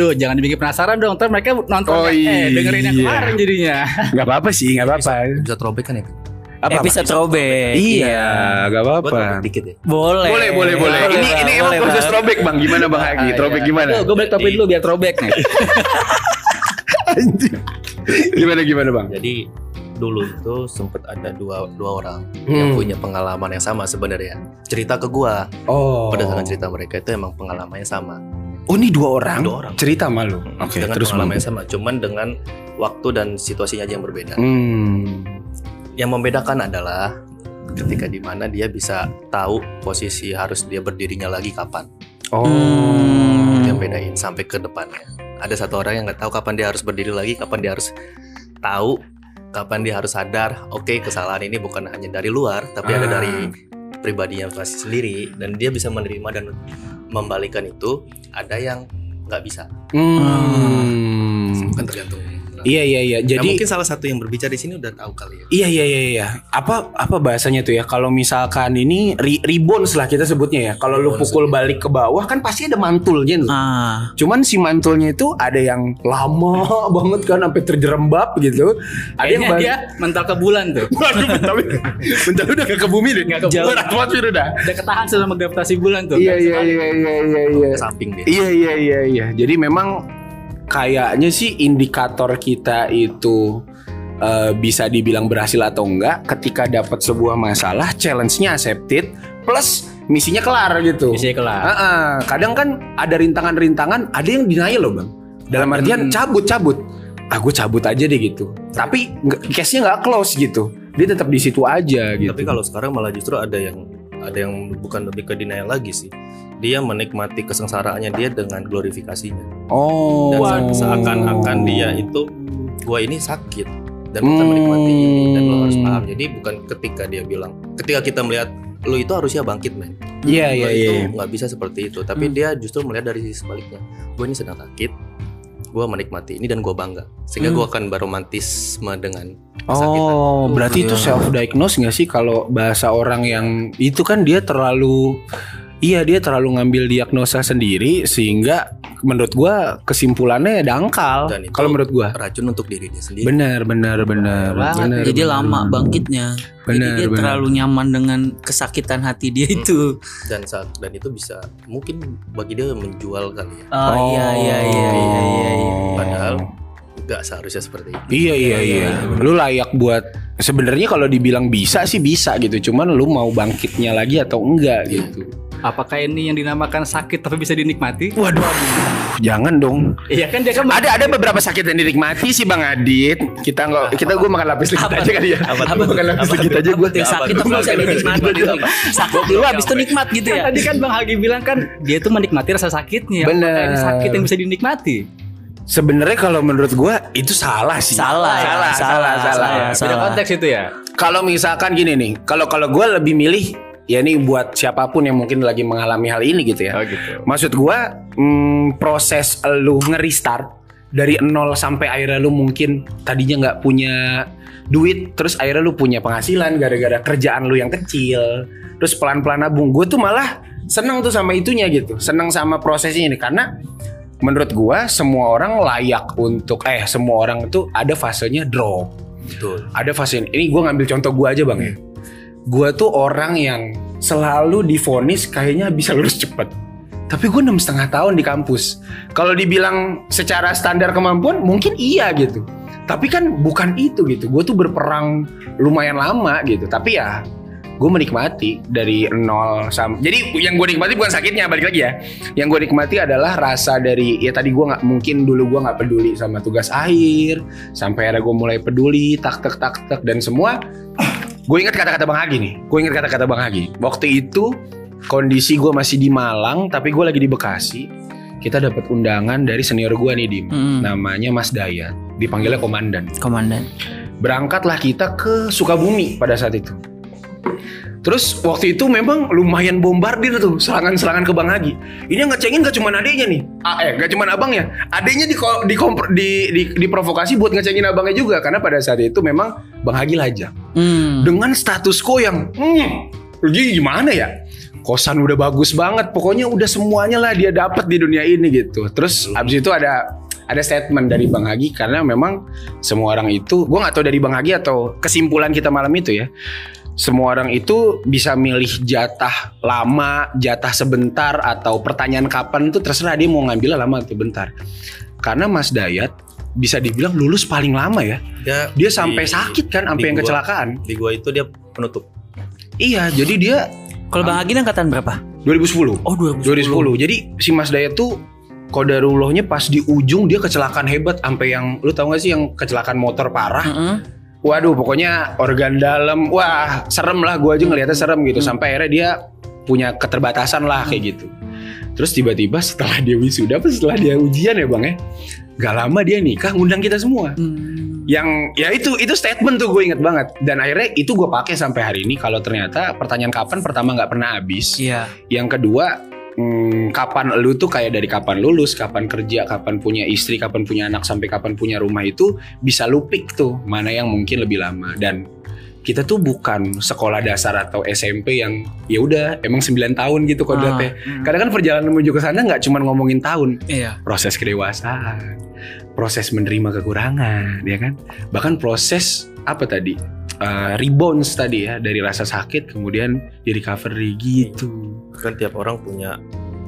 [SPEAKER 3] Duh, jangan dibikin penasaran dong. Ntar mereka nonton
[SPEAKER 1] Oh,
[SPEAKER 3] eh, dengerin yang
[SPEAKER 1] iya.
[SPEAKER 3] kemarin jadinya.
[SPEAKER 1] Gak apa-apa sih, gak apa-apa.
[SPEAKER 4] bisa robek kan ya
[SPEAKER 1] Apa-apa.
[SPEAKER 2] Episode robek.
[SPEAKER 1] Iya, gak
[SPEAKER 4] buat
[SPEAKER 1] apa-apa.
[SPEAKER 4] robek dikit ya
[SPEAKER 2] Boleh.
[SPEAKER 1] Boleh, boleh, boleh. Ini
[SPEAKER 2] Bang,
[SPEAKER 1] ini emang
[SPEAKER 2] boleh,
[SPEAKER 1] proses
[SPEAKER 2] Bang.
[SPEAKER 1] throwback Bang. Gimana Bang Hagi? Throwback gimana?
[SPEAKER 3] Duh, gue balik topik dulu biar throwback nih.
[SPEAKER 1] Anjing. gimana gimana Bang?
[SPEAKER 4] jadi dulu itu sempet ada dua dua orang
[SPEAKER 1] Hmm.
[SPEAKER 4] yang punya pengalaman yang sama sebenarnya cerita ke gua
[SPEAKER 1] Oh.
[SPEAKER 4] berdasarkan cerita mereka itu emang pengalamannya sama
[SPEAKER 1] Oh, ini dua orang.
[SPEAKER 4] Dua orang. Hmm,
[SPEAKER 1] Cerita sama lu. Oke,
[SPEAKER 4] dengan
[SPEAKER 1] terus Bang.
[SPEAKER 4] pengalamannya sama cuman dengan waktu dan situasinya aja yang berbeda
[SPEAKER 1] Hmm.
[SPEAKER 4] yang membedakan adalah ketika di mana dia bisa tahu posisi harus dia berdirinya lagi kapan
[SPEAKER 1] Oh.
[SPEAKER 2] Hmm.
[SPEAKER 4] yang bedain sampai ke depannya ada satu orang yang nggak tahu kapan dia harus berdiri lagi kapan dia harus tahu kapan dia harus sadar oke kesalahan ini bukan hanya dari luar tapi ada
[SPEAKER 1] Ah.
[SPEAKER 4] dari pribadinya masih sendiri dan dia bisa menerima dan membalikan itu ada yang nggak bisa
[SPEAKER 1] Hmm.
[SPEAKER 4] kan tergantung
[SPEAKER 1] Iya iya iya.
[SPEAKER 4] Nah,
[SPEAKER 1] Jadi
[SPEAKER 4] mungkin salah satu yang berbicara di sini udah tahu kali ya.
[SPEAKER 1] Iya iya iya iya. Apa apa bahasanya tuh ya? Kalau misalkan ini ri, rebounds lah kita sebutnya ya. Kalau lu
[SPEAKER 4] Rebounds,
[SPEAKER 1] pukul
[SPEAKER 4] iya.
[SPEAKER 1] balik ke bawah kan pasti ada mantulnya. tuh.
[SPEAKER 2] Ah,
[SPEAKER 1] Cuman si mantulnya itu ada yang lama banget kan sampai terjerembab gitu. Ada yang
[SPEAKER 3] Kayaknya
[SPEAKER 1] balik.
[SPEAKER 3] dia mental ke bulan tuh.
[SPEAKER 1] Waduh, bentar, bentar udah gak ke bumi deh.
[SPEAKER 3] Nggak ke bumi.
[SPEAKER 1] Berat banget, Fir, udah.
[SPEAKER 3] Udah ketahan selama gravitasi bulan tuh.
[SPEAKER 1] Iya iya iya iya iya iya.
[SPEAKER 4] Ke samping dia.
[SPEAKER 1] Iya iya iya iya. Jadi memang kayaknya sih indikator kita itu eh, bisa dibilang berhasil atau enggak ketika dapat sebuah masalah, challenge-nya accepted plus misinya kelar gitu.
[SPEAKER 3] Bisa kelar.
[SPEAKER 1] Heeh. kadang kan ada rintangan-rintangan, ada yang denial loh bang. Dalam artian
[SPEAKER 3] Hmm.
[SPEAKER 1] cabut-cabut, ah gue cabut aja deh gitu. Tapi nggak- case-nya nggak close gitu, dia tetap di situ aja gitu.
[SPEAKER 4] Tapi kalau sekarang malah justru ada yang ada yang bukan lebih ke denial lagi sih. Dia menikmati kesengsaraannya dia dengan glorifikasinya.
[SPEAKER 1] oh,
[SPEAKER 4] Dan se- seakan-akan dia itu gua ini sakit dan kita menikmati ini dan lo harus
[SPEAKER 1] Hmm.
[SPEAKER 4] paham. Jadi bukan ketika dia bilang, ketika kita melihat lu itu harusnya bangkit men.
[SPEAKER 1] Iya
[SPEAKER 4] Lo
[SPEAKER 1] iya
[SPEAKER 4] itu
[SPEAKER 1] iya. Hmm.
[SPEAKER 4] nggak bisa seperti itu. Tapi dia justru melihat dari sisi sebaliknya. Gue ini sedang sakit, gue menikmati ini dan gue bangga. Sehingga
[SPEAKER 1] Hmm.
[SPEAKER 4] gue akan beromantisme dengan kesakitan.
[SPEAKER 1] Oh, berarti itu self diagnose nggak sih kalau bahasa orang yang itu kan dia terlalu iya dia terlalu ngambil diagnosa sendiri sehingga menurut gua kesimpulannya dangkal.
[SPEAKER 4] Dan itu- iya.
[SPEAKER 1] Kalau menurut gua
[SPEAKER 4] racun untuk diri dia sendiri.
[SPEAKER 1] benar benar benar
[SPEAKER 3] Banget,
[SPEAKER 1] benar.
[SPEAKER 2] jadi
[SPEAKER 1] benar.
[SPEAKER 2] lama bangkitnya. jadi
[SPEAKER 1] Benar
[SPEAKER 2] dia
[SPEAKER 1] benar.
[SPEAKER 2] terlalu nyaman dengan kesakitan hati dia
[SPEAKER 4] Hmm.
[SPEAKER 2] itu.
[SPEAKER 4] dan saat dan itu bisa mungkin bagi dia menjual kali ya
[SPEAKER 2] Ah, iya iya iya iya iya. iya.
[SPEAKER 1] Oh.
[SPEAKER 4] Padahal- nggak seharusnya seperti itu
[SPEAKER 1] Iya iya iya. Lu layak buat sebenarnya kalau dibilang bisa sih bisa gitu. Cuman lu mau bangkitnya lagi atau enggak
[SPEAKER 4] Iya.
[SPEAKER 1] gitu.
[SPEAKER 3] Apakah ini yang dinamakan sakit tapi bisa dinikmati?
[SPEAKER 1] Waduh. Jangan dong.
[SPEAKER 3] Iya kan dia kan
[SPEAKER 1] Ada ada beberapa sakit yang dinikmati sih Bang Adit. Kita nggak kita gue makan lapis legit
[SPEAKER 2] Apa
[SPEAKER 1] aja kali ya.
[SPEAKER 4] Apa tuh?
[SPEAKER 1] Makan lapis legit gitu aja gue.
[SPEAKER 2] Yang sakit tapi bisa dinikmat Sakit dulu habis itu nikmat gitu ya.
[SPEAKER 3] Kan tadi kan Bang Hagi bilang kan dia tuh menikmati rasa sakitnya.
[SPEAKER 1] Bener.
[SPEAKER 3] Apakah ini sakit yang bisa dinikmati?
[SPEAKER 1] Sebenarnya kalau menurut gue itu salah sih.
[SPEAKER 2] Salah, ya,
[SPEAKER 1] salah, salah, salah.
[SPEAKER 2] salah,
[SPEAKER 3] Beda konteks itu ya.
[SPEAKER 1] Kalau misalkan gini nih, kalau kalau gue lebih milih ya ini buat siapapun yang mungkin lagi mengalami hal ini gitu ya.
[SPEAKER 3] Oh gitu.
[SPEAKER 1] Maksud gua mm, proses lu nge-restart dari nol sampai akhirnya lu mungkin tadinya nggak punya duit terus akhirnya lu punya penghasilan gara-gara kerjaan lu yang kecil terus pelan-pelan nabung gue tuh malah seneng tuh sama itunya gitu seneng sama prosesnya ini karena menurut gua semua orang layak untuk eh semua orang itu ada fasenya drop
[SPEAKER 4] betul
[SPEAKER 1] ada fase ini. Ini gue ngambil contoh gue aja bang ya. Gue tuh orang yang selalu difonis kayaknya bisa lulus cepet. Tapi gue enam setengah tahun di kampus. Kalau dibilang secara standar kemampuan mungkin iya gitu. Tapi kan bukan itu gitu. Gue tuh berperang lumayan lama gitu. Tapi ya gue menikmati dari nol sampai. Jadi yang gue nikmati bukan sakitnya balik lagi ya. Yang gue nikmati adalah rasa dari ya tadi gue nggak mungkin dulu gue nggak peduli sama tugas akhir sampai ada gue mulai peduli tak tak tak tak dan semua gue ingat kata-kata bang Hagi nih gue ingat kata-kata bang Hagi waktu itu kondisi gue masih di Malang tapi gue lagi di Bekasi kita dapat undangan dari senior gue nih Dim
[SPEAKER 2] Hmm.
[SPEAKER 1] namanya Mas Dayat dipanggilnya komandan
[SPEAKER 2] Komandan.
[SPEAKER 1] berangkatlah kita ke Sukabumi pada saat itu Terus waktu itu memang lumayan bombardir tuh serangan-serangan ke Bang Hagi. Ini yang ngecengin gak cuman adeknya nih. Ah, eh gak cuman abangnya. Adeknya di, di, di, di- diprovokasi buat ngecengin abangnya juga karena pada saat itu memang Bang Hagi lajang.
[SPEAKER 2] Hmm.
[SPEAKER 1] Dengan status quo yang hmm, jadi gimana ya? Kosan udah bagus banget, pokoknya udah semuanya lah dia dapat di dunia ini gitu. Terus abis itu ada ada statement dari Bang Hagi karena memang semua orang itu, gue nggak tahu dari Bang Hagi atau kesimpulan kita malam itu ya. Semua orang itu bisa milih jatah lama, jatah sebentar atau pertanyaan kapan itu terserah dia mau ngambilnya lama atau bentar. Karena Mas Dayat bisa dibilang lulus paling lama ya.
[SPEAKER 4] dia
[SPEAKER 1] Dia sampai
[SPEAKER 4] di-
[SPEAKER 1] sakit kan, sampai yang
[SPEAKER 4] di gua.
[SPEAKER 1] kecelakaan.
[SPEAKER 4] di gua itu dia penutup
[SPEAKER 1] Iya, jadi dia
[SPEAKER 2] Kalau Bang Agin angkatan berapa?
[SPEAKER 1] 2010.
[SPEAKER 2] Oh,
[SPEAKER 1] 2010. Jadi si Mas Dayat tuh kodarullahnya pas di ujung dia kecelakaan hebat sampai yang lu tau gak sih yang kecelakaan motor parah.
[SPEAKER 2] Heeh.
[SPEAKER 1] Waduh, pokoknya organ dalam wah serem lah gua aja ngelihatnya serem gitu
[SPEAKER 2] Hmm.
[SPEAKER 1] sampai akhirnya dia punya keterbatasan lah kayak gitu. Terus tiba-tiba setelah dia wisuda apa setelah dia ujian ya Bang ya. Gak lama dia nikah ngundang kita semua
[SPEAKER 2] Hmm.
[SPEAKER 1] yang ya itu itu statement tuh gue inget banget dan akhirnya itu gue pakai sampai hari ini kalau ternyata pertanyaan kapan pertama nggak pernah habis
[SPEAKER 2] Iya.
[SPEAKER 1] yang kedua mm, kapan lu tuh kayak dari kapan lulus, kapan kerja, kapan punya istri, kapan punya anak sampai kapan punya rumah itu bisa lu pick tuh mana yang mungkin lebih lama dan kita tuh bukan sekolah dasar atau SMP yang ya udah emang 9 tahun gitu
[SPEAKER 2] Ah.
[SPEAKER 1] kodratnya. Karena kan perjalanan menuju ke sana nggak cuma ngomongin tahun,
[SPEAKER 2] Hmm. Iya.
[SPEAKER 1] proses kedewasaan, proses menerima kekurangan, ya kan? Bahkan proses apa tadi? Eh, rebounds tadi ya dari rasa sakit kemudian di recovery gitu.
[SPEAKER 4] kan tiap orang punya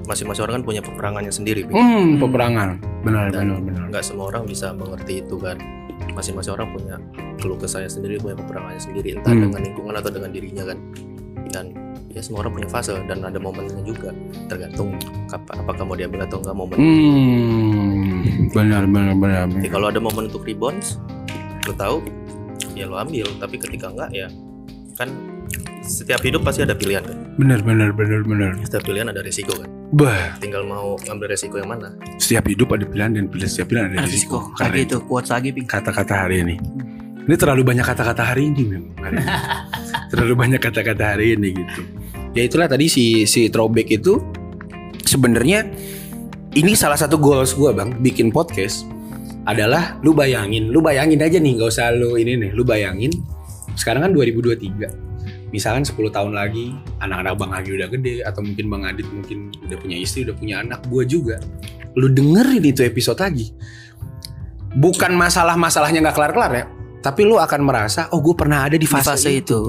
[SPEAKER 4] masing-masing orang kan punya peperangannya sendiri Bi.
[SPEAKER 1] Hmm, peperangan. Benar,
[SPEAKER 4] Dan
[SPEAKER 1] benar, benar.
[SPEAKER 4] nggak semua orang bisa mengerti itu kan masing-masing orang punya keluh kesahnya sendiri punya peperangannya sendiri entah
[SPEAKER 1] Hmm.
[SPEAKER 4] dengan lingkungan atau dengan dirinya kan dan ya semua orang punya fase dan ada momennya juga tergantung kap- apakah mau diambil atau enggak momen
[SPEAKER 1] Hmm, benar, benar, benar.
[SPEAKER 4] Jadi
[SPEAKER 1] benar.
[SPEAKER 4] kalau ada momen untuk rebounds lo tahu ya lo ambil tapi ketika enggak ya kan setiap hidup pasti ada pilihan kan
[SPEAKER 1] Benar, benar, benar, benar.
[SPEAKER 4] setiap pilihan ada resiko kan
[SPEAKER 1] Bah,
[SPEAKER 4] tinggal mau ngambil resiko yang mana
[SPEAKER 1] setiap hidup ada pilihan dan pilihan setiap pilihan ada risiko. gitu.
[SPEAKER 2] Risiko.
[SPEAKER 1] Karena
[SPEAKER 2] Lagi itu kuat lagi ping.
[SPEAKER 1] kata-kata hari ini. Ini terlalu banyak kata-kata hari ini memang. hari ini. terlalu banyak kata-kata hari ini gitu. Ya itulah tadi si si throwback itu sebenarnya ini salah satu goals gua bang bikin podcast adalah lu bayangin, lu bayangin aja nih nggak usah lu ini nih, lu bayangin sekarang kan 2023 misalkan 10 tahun lagi anak-anak Bang Agi udah gede atau mungkin Bang Adit mungkin udah punya istri, udah punya anak, gua juga. Lu dengerin itu episode lagi. Bukan masalah-masalahnya nggak kelar-kelar ya, tapi lu akan merasa oh gue pernah ada di
[SPEAKER 2] Di
[SPEAKER 1] fase,
[SPEAKER 2] fase itu.
[SPEAKER 1] itu.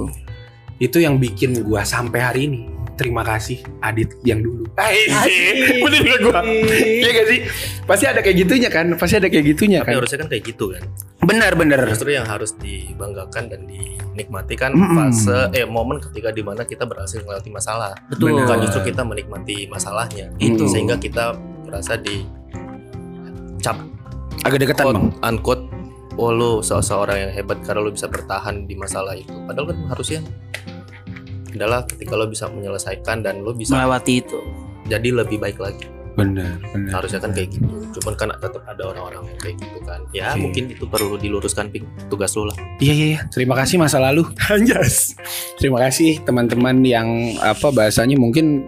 [SPEAKER 1] Itu yang bikin gua sampai hari ini. Terima kasih Adit yang dulu.
[SPEAKER 2] Asik.
[SPEAKER 1] Iya. Bener gak gua? Iya gak sih? Pasti ada kayak gitunya kan? Pasti ada kayak gitunya
[SPEAKER 4] tapi
[SPEAKER 1] kan? Iya.
[SPEAKER 4] harusnya kan kayak gitu kan
[SPEAKER 1] Benar-benar.
[SPEAKER 4] justru yang harus dibanggakan dan dinikmati kan
[SPEAKER 1] Mm-mm.
[SPEAKER 4] fase eh momen ketika dimana kita berhasil melewati masalah
[SPEAKER 1] Benar. Gitu.
[SPEAKER 2] Betul.
[SPEAKER 4] bukan justru kita menikmati masalahnya
[SPEAKER 2] Itu.
[SPEAKER 4] sehingga kita merasa di cap
[SPEAKER 1] Agak deketan bang.
[SPEAKER 4] quote unquote oh lu se- seorang yang hebat karena lu bisa bertahan di masalah itu padahal kan harusnya adalah ketika lo bisa menyelesaikan dan lo
[SPEAKER 1] Nah.
[SPEAKER 4] bisa
[SPEAKER 2] melewati itu.
[SPEAKER 4] jadi lebih baik lagi
[SPEAKER 1] Benar, benar.
[SPEAKER 4] harusnya kan kayak gitu cuman kan tetap ada orang-orang yang kayak gitu kan ya
[SPEAKER 1] Oke.
[SPEAKER 4] mungkin itu perlu diluruskan Pink. tugas lo lah
[SPEAKER 1] Iya iya iya. Terima kasih masa lalu. Anjas. Terima kasih teman-teman yang apa bahasanya mungkin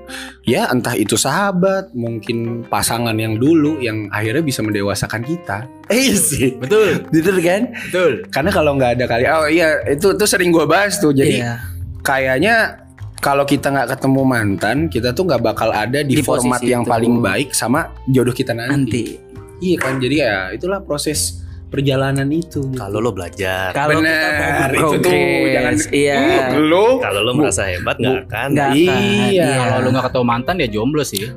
[SPEAKER 1] ya entah itu sahabat, mungkin pasangan yang dulu yang akhirnya bisa mendewasakan kita. Eh sih.
[SPEAKER 3] Betul,
[SPEAKER 1] Bener kan?
[SPEAKER 3] betul.
[SPEAKER 1] Karena kalau nggak ada kali, oh iya itu itu sering gue bahas tuh. Jadi
[SPEAKER 2] Iya.
[SPEAKER 1] kayaknya kalau kita nggak ketemu mantan, kita tuh nggak bakal ada di,
[SPEAKER 2] Di posisi
[SPEAKER 1] format yang
[SPEAKER 2] itu.
[SPEAKER 1] paling baik sama jodoh kita nanti.
[SPEAKER 2] nanti.
[SPEAKER 1] Iya kan? Jadi ya itulah proses perjalanan itu.
[SPEAKER 4] kalau lo belajar
[SPEAKER 2] Kalau kita mau
[SPEAKER 1] Benar, itu tuh,
[SPEAKER 2] berprogres,
[SPEAKER 1] jangan-
[SPEAKER 2] iya.
[SPEAKER 1] Hmm, Lu
[SPEAKER 4] kalau lo merasa hebat nggak akan
[SPEAKER 2] Nggak akan,
[SPEAKER 1] Iya.
[SPEAKER 3] Kalau lu nggak ketemu mantan ya jomblo sih.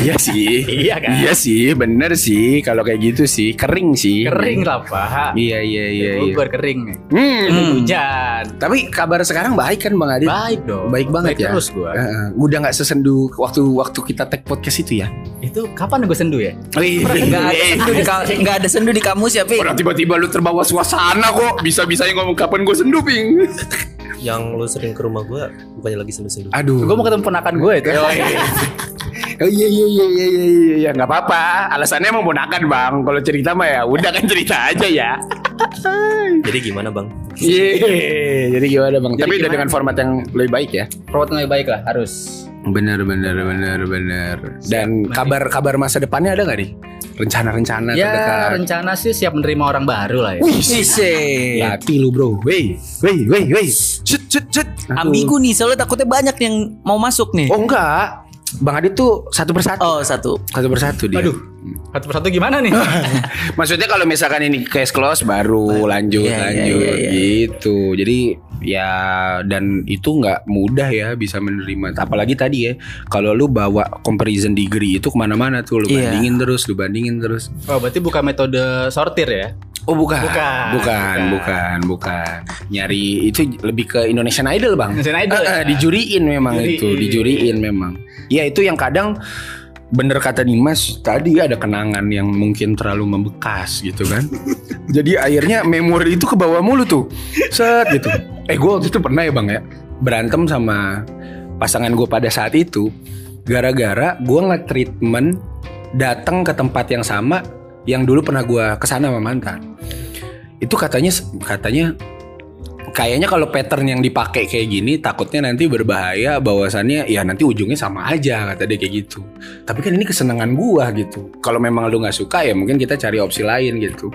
[SPEAKER 1] Iya sih.
[SPEAKER 4] iya kan
[SPEAKER 1] Iya sih, bener sih. Kalau kayak gitu sih, kering sih.
[SPEAKER 3] Kering lah pak.
[SPEAKER 1] Iya iya iya. iya.
[SPEAKER 3] Bogor kering.
[SPEAKER 1] Hmm.
[SPEAKER 2] Hmm.
[SPEAKER 3] Hujan.
[SPEAKER 1] Tapi kabar sekarang baik kan Bang Adit?
[SPEAKER 3] Baik dong.
[SPEAKER 1] Baik banget ya.
[SPEAKER 3] Terus gua.
[SPEAKER 1] Heeh. udah nggak sesendu waktu waktu kita tag podcast itu ya?
[SPEAKER 3] Itu kapan gue sendu ya?
[SPEAKER 1] Wih,
[SPEAKER 2] Nggak ada
[SPEAKER 1] Iya.
[SPEAKER 2] sendu di ka- nggak ada sendu di kamus ya, Ping.
[SPEAKER 1] Orang tiba-tiba lu terbawa suasana kok Bisa-bisanya ngomong kapan gue sendu ping
[SPEAKER 4] yang lo sering ke rumah gue bukannya lagi sendu-sendu
[SPEAKER 1] Aduh
[SPEAKER 3] Gue mau ketemu ponakan gue itu.
[SPEAKER 1] Iya. Oh iya iya iya iya iya iya iya nggak apa-apa. Alasannya emang ponakan bang. Kalau cerita mah ya udah kan cerita aja ya. Hmm.
[SPEAKER 4] jadi gimana bang
[SPEAKER 1] Iya. Jadi gimana bang?
[SPEAKER 3] Jadi
[SPEAKER 1] Tapi udah
[SPEAKER 3] gimana?
[SPEAKER 1] dengan format yang lebih baik ya.
[SPEAKER 3] Perawatan lebih baik lah harus.
[SPEAKER 1] Bener bener bener bener. Dan
[SPEAKER 3] Siap,
[SPEAKER 1] kabar kabar masa depannya ada nggak nih? Rencana-rencana
[SPEAKER 3] Ya
[SPEAKER 1] Nah, terdekat.
[SPEAKER 3] rencana sih siap menerima orang baru lah ya.
[SPEAKER 2] Ise.
[SPEAKER 1] Hati lu Ya, bro. Wey wey wey wey. Shut shut shut. Aku-
[SPEAKER 2] Ambigu nih, soalnya takutnya banyak yang mau masuk nih.
[SPEAKER 1] Oh enggak. Bang Adit tuh satu persatu.
[SPEAKER 2] Oh, satu.
[SPEAKER 1] Satu persatu dia. Hmm.
[SPEAKER 3] Aduh. Satu persatu gimana nih?
[SPEAKER 1] Maksudnya kalau misalkan ini case close baru lanjut
[SPEAKER 2] Iya, iya,
[SPEAKER 1] lanjut
[SPEAKER 2] iya, iya.
[SPEAKER 1] gitu. Jadi ya dan itu nggak mudah ya bisa menerima. Apalagi tadi ya kalau lu bawa comparison degree itu kemana-mana tuh lu
[SPEAKER 2] Iya.
[SPEAKER 1] bandingin terus, lu bandingin terus.
[SPEAKER 3] Oh berarti bukan metode sortir ya?
[SPEAKER 1] Oh bukan,
[SPEAKER 3] Bukan,
[SPEAKER 1] bukan,
[SPEAKER 3] bukan.
[SPEAKER 1] bukan, bukan. Nyari itu lebih ke Indonesian Idol bang.
[SPEAKER 3] Indonesian Idol,
[SPEAKER 1] Eh, eh,
[SPEAKER 3] ya.
[SPEAKER 1] dijuriin memang
[SPEAKER 3] Juriin.
[SPEAKER 1] itu, dijuriin memang. Ya itu yang kadang bener kata Dimas tadi ada kenangan yang mungkin terlalu membekas gitu kan. Jadi akhirnya memori itu ke bawah mulu tuh, set gitu. Eh gue waktu itu pernah ya bang ya berantem sama pasangan gue pada saat itu gara-gara gue nge-treatment datang ke tempat yang sama yang dulu pernah gue kesana sama mantan itu katanya katanya kayaknya kalau pattern yang dipakai kayak gini takutnya nanti berbahaya bahwasannya ya nanti ujungnya sama aja kata dia kayak gitu. Tapi kan ini kesenangan gua gitu. Kalau memang lu nggak suka ya mungkin kita cari opsi lain gitu.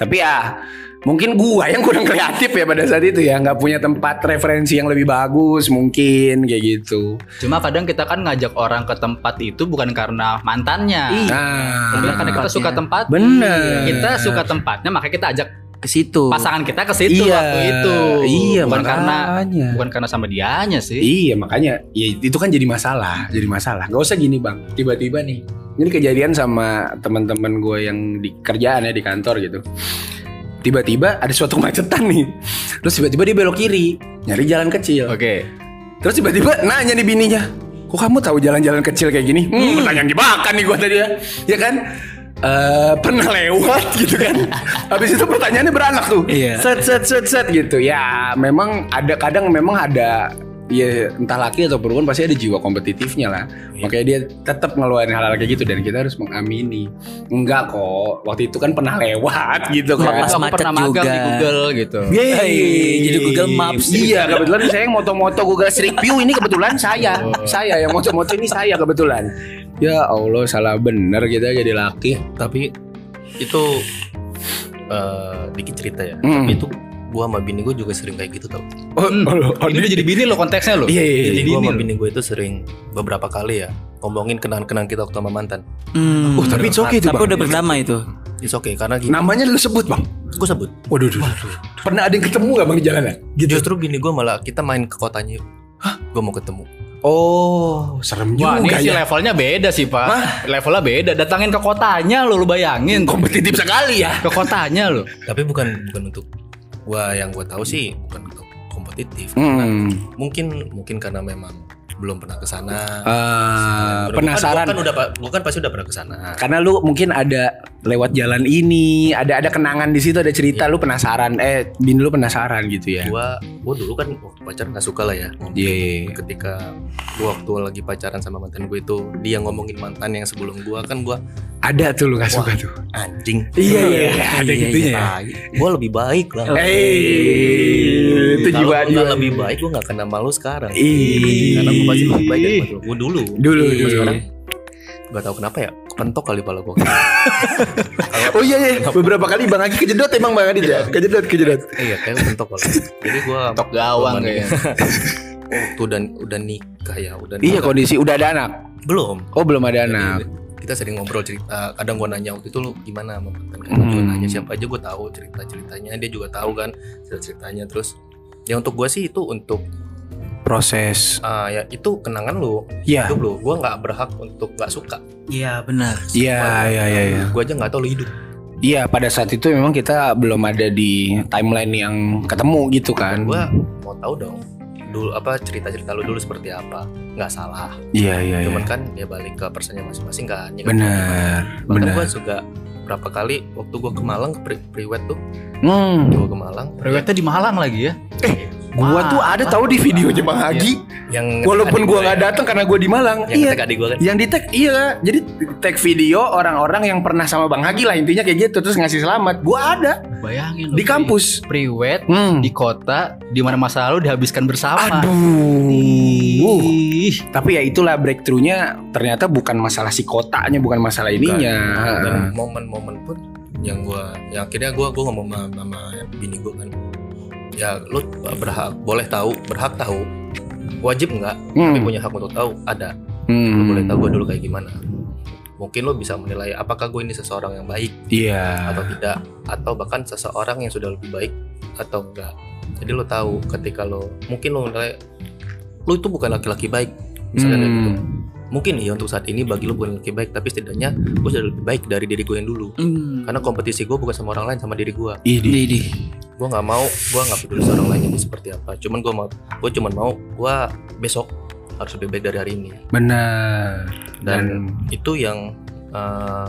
[SPEAKER 1] Tapi ya mungkin gua yang kurang kreatif ya pada saat itu ya nggak punya tempat referensi yang lebih bagus mungkin kayak gitu.
[SPEAKER 3] Cuma kadang kita kan ngajak orang ke tempat itu bukan karena mantannya. Tapi
[SPEAKER 1] Nah,
[SPEAKER 3] karena kita suka tempat.
[SPEAKER 1] Bener.
[SPEAKER 3] Kita suka tempatnya makanya kita ajak
[SPEAKER 2] ke situ.
[SPEAKER 3] pasangan kita ke situ waktu itu.
[SPEAKER 1] Iya,
[SPEAKER 3] bukan karena
[SPEAKER 1] makanya.
[SPEAKER 3] bukan karena sama dianya sih.
[SPEAKER 1] Iya makanya ya itu kan jadi masalah, jadi masalah. Gak usah gini bang, tiba-tiba nih. Ini kejadian sama teman-teman gue yang di kerjaan ya di kantor gitu. Tiba-tiba ada suatu kemacetan nih. Terus tiba-tiba dia belok kiri, nyari jalan kecil.
[SPEAKER 3] Oke.
[SPEAKER 1] Terus tiba-tiba nanya nih bininya, kok kamu tahu jalan-jalan kecil kayak gini? Hmm, pertanyaan jebakan nih gue tadi ya, ya kan? Eh, pernah lewat gitu kan Habis itu pertanyaannya beranak tuh
[SPEAKER 2] Iya.
[SPEAKER 1] Set set set set gitu Ya memang ada kadang memang ada Ya entah laki atau perempuan pasti ada jiwa kompetitifnya lah Makanya dia tetap ngeluarin hal-hal kayak gitu Dan kita harus mengamini Enggak kok Waktu itu kan pernah lewat gitu
[SPEAKER 3] Waktu
[SPEAKER 1] kan
[SPEAKER 3] itu aku
[SPEAKER 2] macet
[SPEAKER 3] pernah magang
[SPEAKER 2] juga.
[SPEAKER 3] di Google gitu.
[SPEAKER 1] Yeay.
[SPEAKER 2] Hey, jadi Google Maps.
[SPEAKER 1] Iya, kebetulan saya yang moto-moto Google Street View ini kebetulan saya. Saya yang moto-moto ini saya kebetulan. Oh. Ya Allah, salah bener kita jadi laki.
[SPEAKER 4] tapi itu eh, dikit cerita ya
[SPEAKER 1] Hmm.
[SPEAKER 4] tapi itu gua sama bini gua juga sering kayak gitu tau
[SPEAKER 1] Oh,
[SPEAKER 3] Hmm. Ini udah jadi bini lo konteksnya lo.
[SPEAKER 1] Iya, iya,
[SPEAKER 4] jadi
[SPEAKER 3] Bini
[SPEAKER 4] gua sama
[SPEAKER 3] lu.
[SPEAKER 4] bini gua itu sering beberapa kali ya ngomongin kenangan-kenangan kita waktu sama mantan
[SPEAKER 2] Hmm.
[SPEAKER 1] Oh, tapi it's okay itu,
[SPEAKER 2] Tapi
[SPEAKER 1] Bang.
[SPEAKER 2] udah berdamai itu.
[SPEAKER 4] it's okay karena gini
[SPEAKER 1] Namanya lu sebut, Bang.
[SPEAKER 4] gua sebut
[SPEAKER 1] Waduh, duh, duh. Pernah ada yang ketemu gak Bang di jalanan?
[SPEAKER 4] justru bini gua malah kita main ke kotanya yuk Hah? gua mau ketemu
[SPEAKER 1] Oh, serem
[SPEAKER 3] Wah, ini
[SPEAKER 1] juga
[SPEAKER 3] sih
[SPEAKER 1] ya.
[SPEAKER 3] levelnya beda sih, Pak. Levelnya beda. Datangin ke kotanya lo, lo bayangin.
[SPEAKER 1] Kompetitif sekali ya.
[SPEAKER 3] Ke kotanya lo.
[SPEAKER 4] tapi bukan bukan untuk gua yang gua tahu sih bukan untuk kompetitif Karena
[SPEAKER 1] Hmm.
[SPEAKER 4] mungkin mungkin karena memang belum pernah ke sana
[SPEAKER 1] Eh,
[SPEAKER 4] Bener, gua kan-
[SPEAKER 1] penasaran.
[SPEAKER 4] gua kan udah pa- gua kan pasti udah pernah ke sana
[SPEAKER 1] Karena lu mungkin ada lewat jalan ini, ada ada kenangan di situ, ada cerita lu penasaran. Eh, bin lu penasaran gitu ya.
[SPEAKER 4] gua gua dulu kan waktu pacaran nggak suka lah ya ngomongin.
[SPEAKER 1] Iya, iya, iya.
[SPEAKER 4] ketika gua waktu lagi pacaran sama mantan gue itu dia ngomongin mantan yang sebelum gua kan gua
[SPEAKER 1] Ada tuh lu gak suka tuh.
[SPEAKER 4] anjing
[SPEAKER 1] Iya iya, ada
[SPEAKER 2] iya,
[SPEAKER 1] gitunya ya.
[SPEAKER 4] Tai. gua lebih baik lah
[SPEAKER 1] Eh, itu
[SPEAKER 4] Kalau
[SPEAKER 1] jiwa
[SPEAKER 4] gua
[SPEAKER 1] jiwa.
[SPEAKER 4] nggak lebih baik gua nggak kena malu sekarang
[SPEAKER 1] Ih.
[SPEAKER 4] karena gua pasti lebih baik daripada gua dulu
[SPEAKER 1] Dulu
[SPEAKER 4] Gua
[SPEAKER 1] dulu.
[SPEAKER 4] sekarang nggak tahu kenapa ya kepentok kali pala gua
[SPEAKER 1] Oh iya iya, beberapa kali Bang Aki kejedot emang Bang Adi ya. Kejedot kejedot.
[SPEAKER 4] iya kayak kepentok kepala jadi gua
[SPEAKER 3] Tok gawang
[SPEAKER 4] Gua
[SPEAKER 3] kayaknya.
[SPEAKER 4] waktu dan udah nikah ya udah
[SPEAKER 1] Iya
[SPEAKER 4] nikah.
[SPEAKER 1] kondisi udah ada anak.
[SPEAKER 4] belum
[SPEAKER 1] Oh belum ada anak.
[SPEAKER 4] Iya, kita sering ngobrol cerita kadang gua nanya waktu itu lu gimana sama mantan kan
[SPEAKER 1] Hmm.
[SPEAKER 4] Gua nanya siapa aja gua tahu cerita ceritanya dia juga tahu kan cerita ceritanya terus ya untuk gua sih itu untuk
[SPEAKER 1] Proses.
[SPEAKER 4] ah, ya itu kenangan lu
[SPEAKER 1] Iya.
[SPEAKER 4] hidup lu gua nggak berhak untuk nggak suka
[SPEAKER 2] Iya, benar.
[SPEAKER 1] Iya iya iya. iya.
[SPEAKER 4] gua aja nggak tahu lu hidup
[SPEAKER 1] Iya pada saat itu memang kita belum ada di timeline yang ketemu gitu kan.
[SPEAKER 4] gua mau tahu dong dulu apa cerita cerita lu dulu seperti apa nggak salah
[SPEAKER 1] Iya iya iya.
[SPEAKER 4] cuman kan ya balik ke personnya masing-masing kan ya kan?
[SPEAKER 1] Benar
[SPEAKER 4] Bahkan
[SPEAKER 1] benar.
[SPEAKER 4] gua juga berapa kali waktu gua ke Malang ke pre- priwet tuh
[SPEAKER 1] Hmm.
[SPEAKER 4] gua ke Malang
[SPEAKER 3] Priwetnya di Malang lagi ya.
[SPEAKER 1] Gua tuh ada tahu di videonya Bang Agi.
[SPEAKER 4] yang
[SPEAKER 1] Walaupun
[SPEAKER 4] adik
[SPEAKER 1] gua
[SPEAKER 4] ya,
[SPEAKER 1] nggak datang karena gua di Malang.
[SPEAKER 4] yang
[SPEAKER 1] Iya.
[SPEAKER 4] ketika adik gua kan
[SPEAKER 1] Yang di tag iya, jadi tag video orang-orang yang pernah sama Bang Hagi lah intinya kayak gitu terus ngasih selamat. Gua ada
[SPEAKER 3] Bayangin lu,
[SPEAKER 1] di kampus.
[SPEAKER 3] Priwet
[SPEAKER 1] Hmm.
[SPEAKER 3] di kota di mana masa lalu dihabiskan bersama.
[SPEAKER 1] Aduh.
[SPEAKER 3] Ih.
[SPEAKER 1] Tapi ya itulah breakthrough-nya ternyata bukan masalah si kotanya, bukan masalah ininya.
[SPEAKER 4] dan momen-momen pun yang gua yang akhirnya gua gua ngomong sama, sama bini gua kan ya lu berhak boleh tahu berhak tahu wajib nggak tapi
[SPEAKER 1] Hmm.
[SPEAKER 4] punya hak untuk tahu ada
[SPEAKER 1] Hmm.
[SPEAKER 4] Lu boleh tahu gua dulu kayak gimana mungkin lo bisa menilai apakah gue ini seseorang yang baik
[SPEAKER 1] Iya.
[SPEAKER 4] atau tidak atau bahkan seseorang yang sudah lebih baik atau enggak jadi lo tahu ketika lo mungkin lo menilai lo itu bukan laki-laki baik misalnya kayak gitu
[SPEAKER 1] Hmm.
[SPEAKER 4] mungkin iya untuk saat ini bagi lo bukan laki baik tapi setidaknya gue sudah lebih baik dari diri gue yang dulu
[SPEAKER 2] Hmm.
[SPEAKER 4] karena kompetisi gue bukan sama orang lain sama diri gue
[SPEAKER 1] Idi.
[SPEAKER 2] Didi.
[SPEAKER 4] gue nggak mau gue nggak peduli orang lain ini seperti apa cuman gue mau gue cuman mau gue besok harus lebih baik dari hari ini
[SPEAKER 1] Benar.
[SPEAKER 4] dan,
[SPEAKER 1] Dan
[SPEAKER 4] itu yang eh,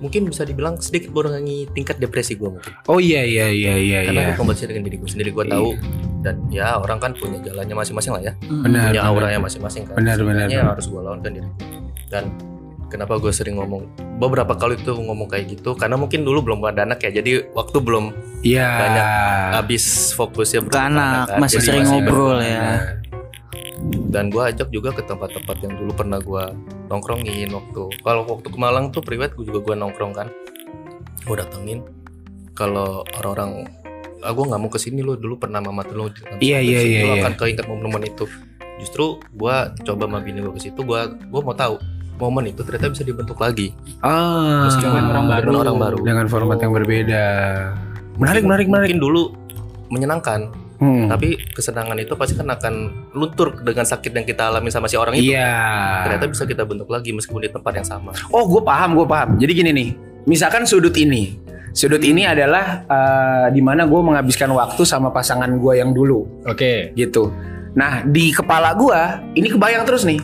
[SPEAKER 4] mungkin bisa dibilang sedikit borongi tingkat depresi gue mungkin
[SPEAKER 1] oh iya iya iya iya
[SPEAKER 4] karena
[SPEAKER 1] iya.
[SPEAKER 4] gue kompetisi dengan diri gue sendiri gue tahu dan ya orang kan punya jalannya masing-masing lah ya
[SPEAKER 2] Hmm.
[SPEAKER 1] Benar.
[SPEAKER 4] punya
[SPEAKER 1] benar.
[SPEAKER 4] auranya masing-masing kan
[SPEAKER 1] Benar, benar,
[SPEAKER 4] Sebenarnya
[SPEAKER 1] benar.
[SPEAKER 4] harus gue lawan kan diri dan kenapa gue sering ngomong beberapa kali tuh ngomong kayak gitu karena mungkin dulu belum ada anak ya jadi waktu belum
[SPEAKER 1] Iya.
[SPEAKER 4] Banyak. habis fokusnya
[SPEAKER 2] Ke anak,
[SPEAKER 4] kan.
[SPEAKER 2] masih
[SPEAKER 4] Jadi
[SPEAKER 2] sering ngobrol
[SPEAKER 4] berkenalan.
[SPEAKER 2] ya.
[SPEAKER 4] dan gue ajak juga ke tempat-tempat yang dulu pernah gue nongkrongin waktu kalau waktu ke Malang tuh priwet gue juga gue nongkrong kan gue datengin kalau orang-orang ah, gue nggak mau kesini lo dulu pernah mama tuh lo di-
[SPEAKER 1] Iya, iya,
[SPEAKER 4] kesini,
[SPEAKER 1] iya,
[SPEAKER 4] lo
[SPEAKER 1] iya.
[SPEAKER 4] akan keinget momen-momen itu justru gue coba sama bini gue ke situ gue gue mau tahu momen itu ternyata bisa dibentuk lagi
[SPEAKER 1] Ah.
[SPEAKER 4] Meskipun
[SPEAKER 3] orang baru.
[SPEAKER 4] dengan orang baru
[SPEAKER 1] Dengan format yang berbeda. Menarik,
[SPEAKER 4] Mungkin-
[SPEAKER 1] menarik, menarik.
[SPEAKER 4] mungkin dulu menyenangkan
[SPEAKER 1] Hmm.
[SPEAKER 4] tapi kesenangan itu pasti kan akan luntur dengan sakit yang kita alami sama si orang itu
[SPEAKER 1] Iya.
[SPEAKER 4] ternyata bisa kita bentuk lagi meskipun di tempat yang sama
[SPEAKER 1] Oh, gue paham, gue paham. Jadi gini nih, misalkan sudut ini, sudut ini adalah eh, di mana gue menghabiskan waktu sama pasangan gue yang dulu,
[SPEAKER 3] Oke.
[SPEAKER 1] gitu. Nah, di kepala gue, ini kebayang terus nih.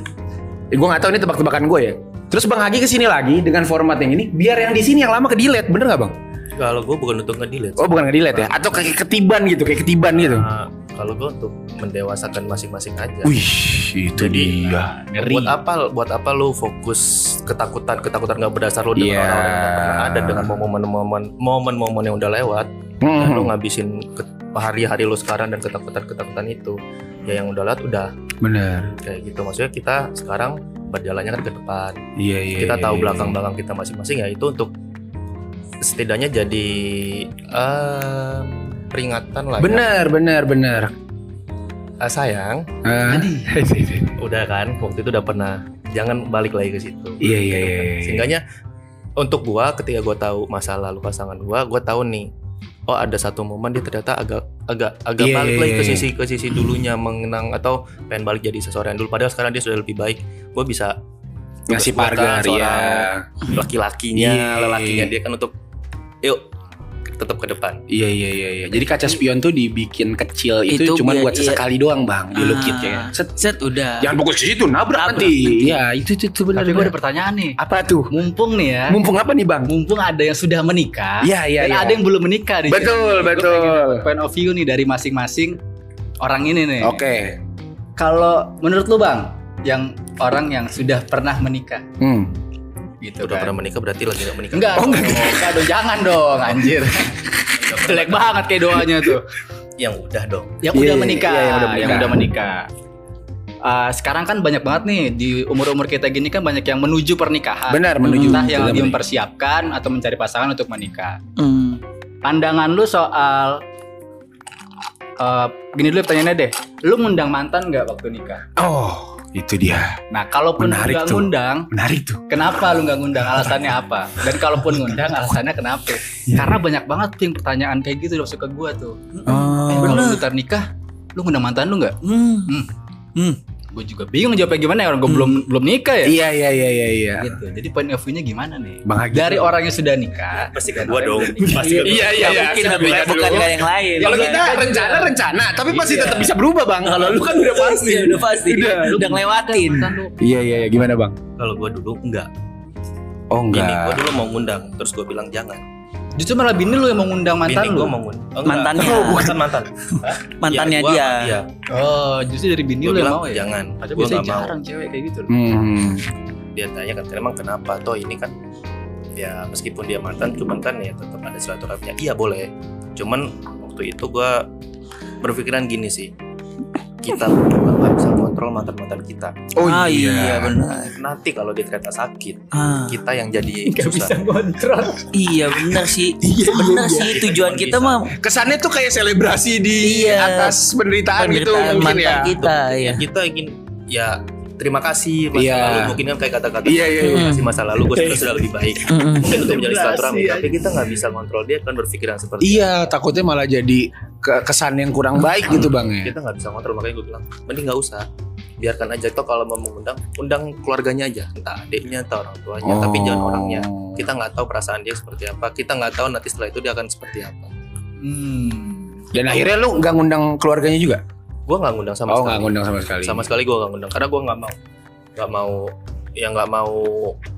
[SPEAKER 1] gue nggak tahu ini tebak-tebakan gue ya. Terus Bang Hagi kesini lagi dengan format yang ini, biar yang di sini yang lama ke delete, bener nggak Bang?
[SPEAKER 4] kalau gue bukan untuk ngedilet
[SPEAKER 1] Oh, bukan ke delete ya? Atau kayak ketiban gitu, kayak ketiban gitu.
[SPEAKER 4] Nah, kalau gue untuk mendewasakan masing-masing aja
[SPEAKER 1] Wih, itu
[SPEAKER 4] Jadi, ya
[SPEAKER 1] dia.
[SPEAKER 3] Ngeri.
[SPEAKER 4] buat apa buat apa lu fokus ketakutan ketakutan nggak berdasar lu
[SPEAKER 1] Iya.
[SPEAKER 4] dengan orang-orang yang nggak pernah ada dengan momen-momen momen-momen yang udah lewat dan lu
[SPEAKER 1] Hmm,
[SPEAKER 4] ngabisin ke- hari-hari lu sekarang dan ketakutan ketakutan itu ya yang udah lewat udah
[SPEAKER 1] bener.
[SPEAKER 4] kayak gitu maksudnya kita sekarang berjalannya kan ke depan
[SPEAKER 1] Iya, iya.
[SPEAKER 4] kita
[SPEAKER 1] iya,
[SPEAKER 4] tahu
[SPEAKER 1] iya, iya.
[SPEAKER 4] belakang-belakang kita masing-masing ya itu untuk setidaknya jadi eh, peringatan lah ya.
[SPEAKER 1] Bener, bener, bener.
[SPEAKER 4] Ah, sayang
[SPEAKER 1] Ah,
[SPEAKER 4] udah kan waktu itu udah pernah jangan balik lagi ke situ Gitu kan.
[SPEAKER 1] Iya, iya, iya. iya.
[SPEAKER 4] Seenggaknya untuk gua ketika gua tahu masa lalu pasangan gua, gua tahu nih oh ada satu momen dia ternyata agak agak agak
[SPEAKER 1] Iya,
[SPEAKER 4] balik
[SPEAKER 1] iya,
[SPEAKER 4] lagi ke
[SPEAKER 1] iya.
[SPEAKER 4] sisi ke sisi dulunya mengenang atau pengen balik jadi seseorang yang dulu padahal sekarang dia sudah lebih baik. Gua bisa
[SPEAKER 1] ngasih
[SPEAKER 4] Buat
[SPEAKER 1] pagar ya
[SPEAKER 4] seorang laki-lakinya,
[SPEAKER 1] Iya.
[SPEAKER 4] lelakinya dia kan untuk yuk tetap ke depan.
[SPEAKER 1] iya iya iya iya. jadi kaca spion tuh dibikin kecil itu,
[SPEAKER 2] Itu
[SPEAKER 1] cuman
[SPEAKER 2] biar-
[SPEAKER 1] buat sesekali doang bang dilukit ya
[SPEAKER 2] Ah. Set udah.
[SPEAKER 1] jangan fokus ke situ nabrak
[SPEAKER 2] Nabrak
[SPEAKER 1] nanti iya itu itu, itu benar
[SPEAKER 3] Tapi gue ada pertanyaan nih.
[SPEAKER 1] apa tuh
[SPEAKER 3] Mumpung nih ya.
[SPEAKER 1] mumpung apa nih bang
[SPEAKER 3] Mumpung ada yang sudah menikah.
[SPEAKER 1] iya iya
[SPEAKER 3] Dan
[SPEAKER 1] iya
[SPEAKER 3] ada yang belum menikah di
[SPEAKER 1] betul
[SPEAKER 3] sini. Gua
[SPEAKER 1] betul
[SPEAKER 3] pengen Point of view nih dari masing-masing orang ini nih.
[SPEAKER 1] oke
[SPEAKER 3] Kalau menurut lu bang, yang orang yang sudah pernah menikah
[SPEAKER 1] hmm.
[SPEAKER 3] gitu
[SPEAKER 4] Udah
[SPEAKER 3] kan?
[SPEAKER 4] pernah menikah berarti lagi nggak menikah.
[SPEAKER 3] Enggak,
[SPEAKER 1] Oh,
[SPEAKER 3] dong, enggak dong, jangan dong, anjir. Jelek banget kayak doanya tuh.
[SPEAKER 4] Yang udah dong.
[SPEAKER 3] Yang
[SPEAKER 1] Iya,
[SPEAKER 3] udah
[SPEAKER 1] iya,
[SPEAKER 3] menikah,
[SPEAKER 1] iya, yang udah
[SPEAKER 3] yang
[SPEAKER 1] menikah.
[SPEAKER 3] udah menikah. Ah, sekarang kan banyak banget nih di umur-umur kita gini kan banyak yang menuju pernikahan.
[SPEAKER 1] benar menuju
[SPEAKER 3] Entah yang
[SPEAKER 1] Sudah
[SPEAKER 3] lagi
[SPEAKER 1] menuju.
[SPEAKER 3] mempersiapkan atau mencari pasangan untuk menikah.
[SPEAKER 2] Hmm.
[SPEAKER 3] Pandangan lu soal eh, gini dulu pertanyaannya deh. Lu ngundang mantan nggak waktu nikah?
[SPEAKER 1] oh itu dia
[SPEAKER 3] Nah, kalaupun
[SPEAKER 1] Menarik
[SPEAKER 3] nggak
[SPEAKER 1] tuh.
[SPEAKER 3] ngundang,
[SPEAKER 1] menarik tuh
[SPEAKER 3] Kenapa lu nggak ngundang? Alasannya apa? Dan kalaupun ngundang, alasannya kenapa?
[SPEAKER 4] Iya.
[SPEAKER 3] Karena banyak banget tuh yang pertanyaan kayak gitu udah masuk ke gua tuh. Eh,
[SPEAKER 1] oh.
[SPEAKER 3] kalau lu ntar nikah, lu ngundang mantan lu nggak?
[SPEAKER 2] Hmm.
[SPEAKER 3] Hmm.
[SPEAKER 2] Hmm.
[SPEAKER 3] Gue juga bingung jawabnya gimana ya orang
[SPEAKER 4] Hmm.
[SPEAKER 3] gue belum belum nikah ya.
[SPEAKER 1] iya iya iya iya iya
[SPEAKER 3] Gitu. Jadi point of view-nya gimana nih?
[SPEAKER 1] bang Hagi
[SPEAKER 3] Dari orang yang sudah nikah.
[SPEAKER 4] Pasti ke
[SPEAKER 3] dan
[SPEAKER 4] gua
[SPEAKER 3] orang
[SPEAKER 4] dong.
[SPEAKER 3] yang belum nikah.
[SPEAKER 4] Pasti ke gua.
[SPEAKER 1] iya iya iya
[SPEAKER 2] Ya, Mungkin
[SPEAKER 1] Saya
[SPEAKER 2] bukan,
[SPEAKER 1] bilang
[SPEAKER 2] bukan
[SPEAKER 1] dulu.
[SPEAKER 2] nggak yang lain.
[SPEAKER 1] kalau
[SPEAKER 2] Bukan.
[SPEAKER 1] kita rencana rencana tapi pasti
[SPEAKER 3] Iya.
[SPEAKER 1] tetap bisa berubah bang kalau lu kan udah pasti
[SPEAKER 2] Iya, udah pasti.
[SPEAKER 1] Udah.
[SPEAKER 2] Udah, udah ngelewatin.
[SPEAKER 3] Mantan lu.
[SPEAKER 1] iya iya iya. gimana bang
[SPEAKER 4] Kalau gua dulu enggak.
[SPEAKER 1] oh
[SPEAKER 4] Gini, gua
[SPEAKER 1] enggak
[SPEAKER 4] dulu mau ngundang, terus gua bilang jangan.
[SPEAKER 3] Justru malah bini lu yang mau ngundang mantan
[SPEAKER 4] Bini
[SPEAKER 3] lu.
[SPEAKER 4] gua mau ngundang. Oh, enggak.
[SPEAKER 2] Mantannya.
[SPEAKER 4] Oh, bukan mantan.
[SPEAKER 2] Mantannya
[SPEAKER 4] Ya, gua
[SPEAKER 2] dia.
[SPEAKER 4] sama
[SPEAKER 3] Oh, justru dari bini
[SPEAKER 4] Dia
[SPEAKER 3] lu yang
[SPEAKER 4] bilang
[SPEAKER 3] mau ya.
[SPEAKER 4] jangan.
[SPEAKER 3] Padahal
[SPEAKER 4] Gua
[SPEAKER 3] biasanya
[SPEAKER 4] nggak mau.
[SPEAKER 3] jarang cewek kayak gitu loh.
[SPEAKER 1] Hmm.
[SPEAKER 4] Dia tanya kan emang kenapa? Toh ini kan ya meskipun dia mantan cuman kan ya tetap ada silaturahminya. Iya boleh. Cuman waktu itu gua berpikiran gini sih. Kita berdua nggak bisa kontrol mantan-mantan kita.
[SPEAKER 1] Oh
[SPEAKER 2] ah, iya, benar.
[SPEAKER 4] Nanti kalau dia ternyata sakit,
[SPEAKER 2] Ah,
[SPEAKER 4] kita yang jadi
[SPEAKER 3] Gak bisa
[SPEAKER 4] susah.
[SPEAKER 3] kontrol.
[SPEAKER 2] iya benar sih. benar
[SPEAKER 1] iya.
[SPEAKER 2] sih tujuan kita
[SPEAKER 1] Kan
[SPEAKER 2] mah
[SPEAKER 1] Kesannya tuh kayak selebrasi di
[SPEAKER 2] Iya.
[SPEAKER 1] atas penderitaan, gitu
[SPEAKER 2] penderitaan
[SPEAKER 1] mungkin
[SPEAKER 2] mantan
[SPEAKER 1] ya.
[SPEAKER 2] kita ya.
[SPEAKER 4] Kita ingin ya terima kasih masa
[SPEAKER 1] Iya.
[SPEAKER 4] lalu mungkin kan kayak kata-kata
[SPEAKER 1] Iya iya. iya.
[SPEAKER 2] Hmm.
[SPEAKER 4] terima kasih masa lalu gue
[SPEAKER 1] Iya.
[SPEAKER 4] sudah lebih baik.
[SPEAKER 2] Mm-mm.
[SPEAKER 4] mungkin untuk menjadi silaturahmi
[SPEAKER 3] Selebrasi,
[SPEAKER 4] tapi kita nggak bisa kontrol dia kan berpikiran seperti itu.
[SPEAKER 1] Iya, takutnya malah jadi ke- kesan yang kurang baik gitu bang ya.
[SPEAKER 4] kita nggak bisa kontrol makanya gue bilang mending nggak usah biarkan aja toh kalau mau mengundang undang keluarganya aja entah adiknya entah orang tuanya Ya, tapi
[SPEAKER 1] Oh.
[SPEAKER 4] jangan orangnya Gitu. kita nggak tahu perasaan dia seperti apa kita nggak tahu nanti setelah itu dia akan seperti apa
[SPEAKER 3] Hmm.
[SPEAKER 1] Dan
[SPEAKER 4] Nah,
[SPEAKER 1] akhirnya lu nggak ngundang keluarganya juga?
[SPEAKER 4] gue nggak ngundang
[SPEAKER 1] oh
[SPEAKER 4] sama sekali
[SPEAKER 1] nggak ngundang sama sekali.
[SPEAKER 4] sama sekali gue nggak ngundang karena gue nggak mau nggak mau yang nggak mau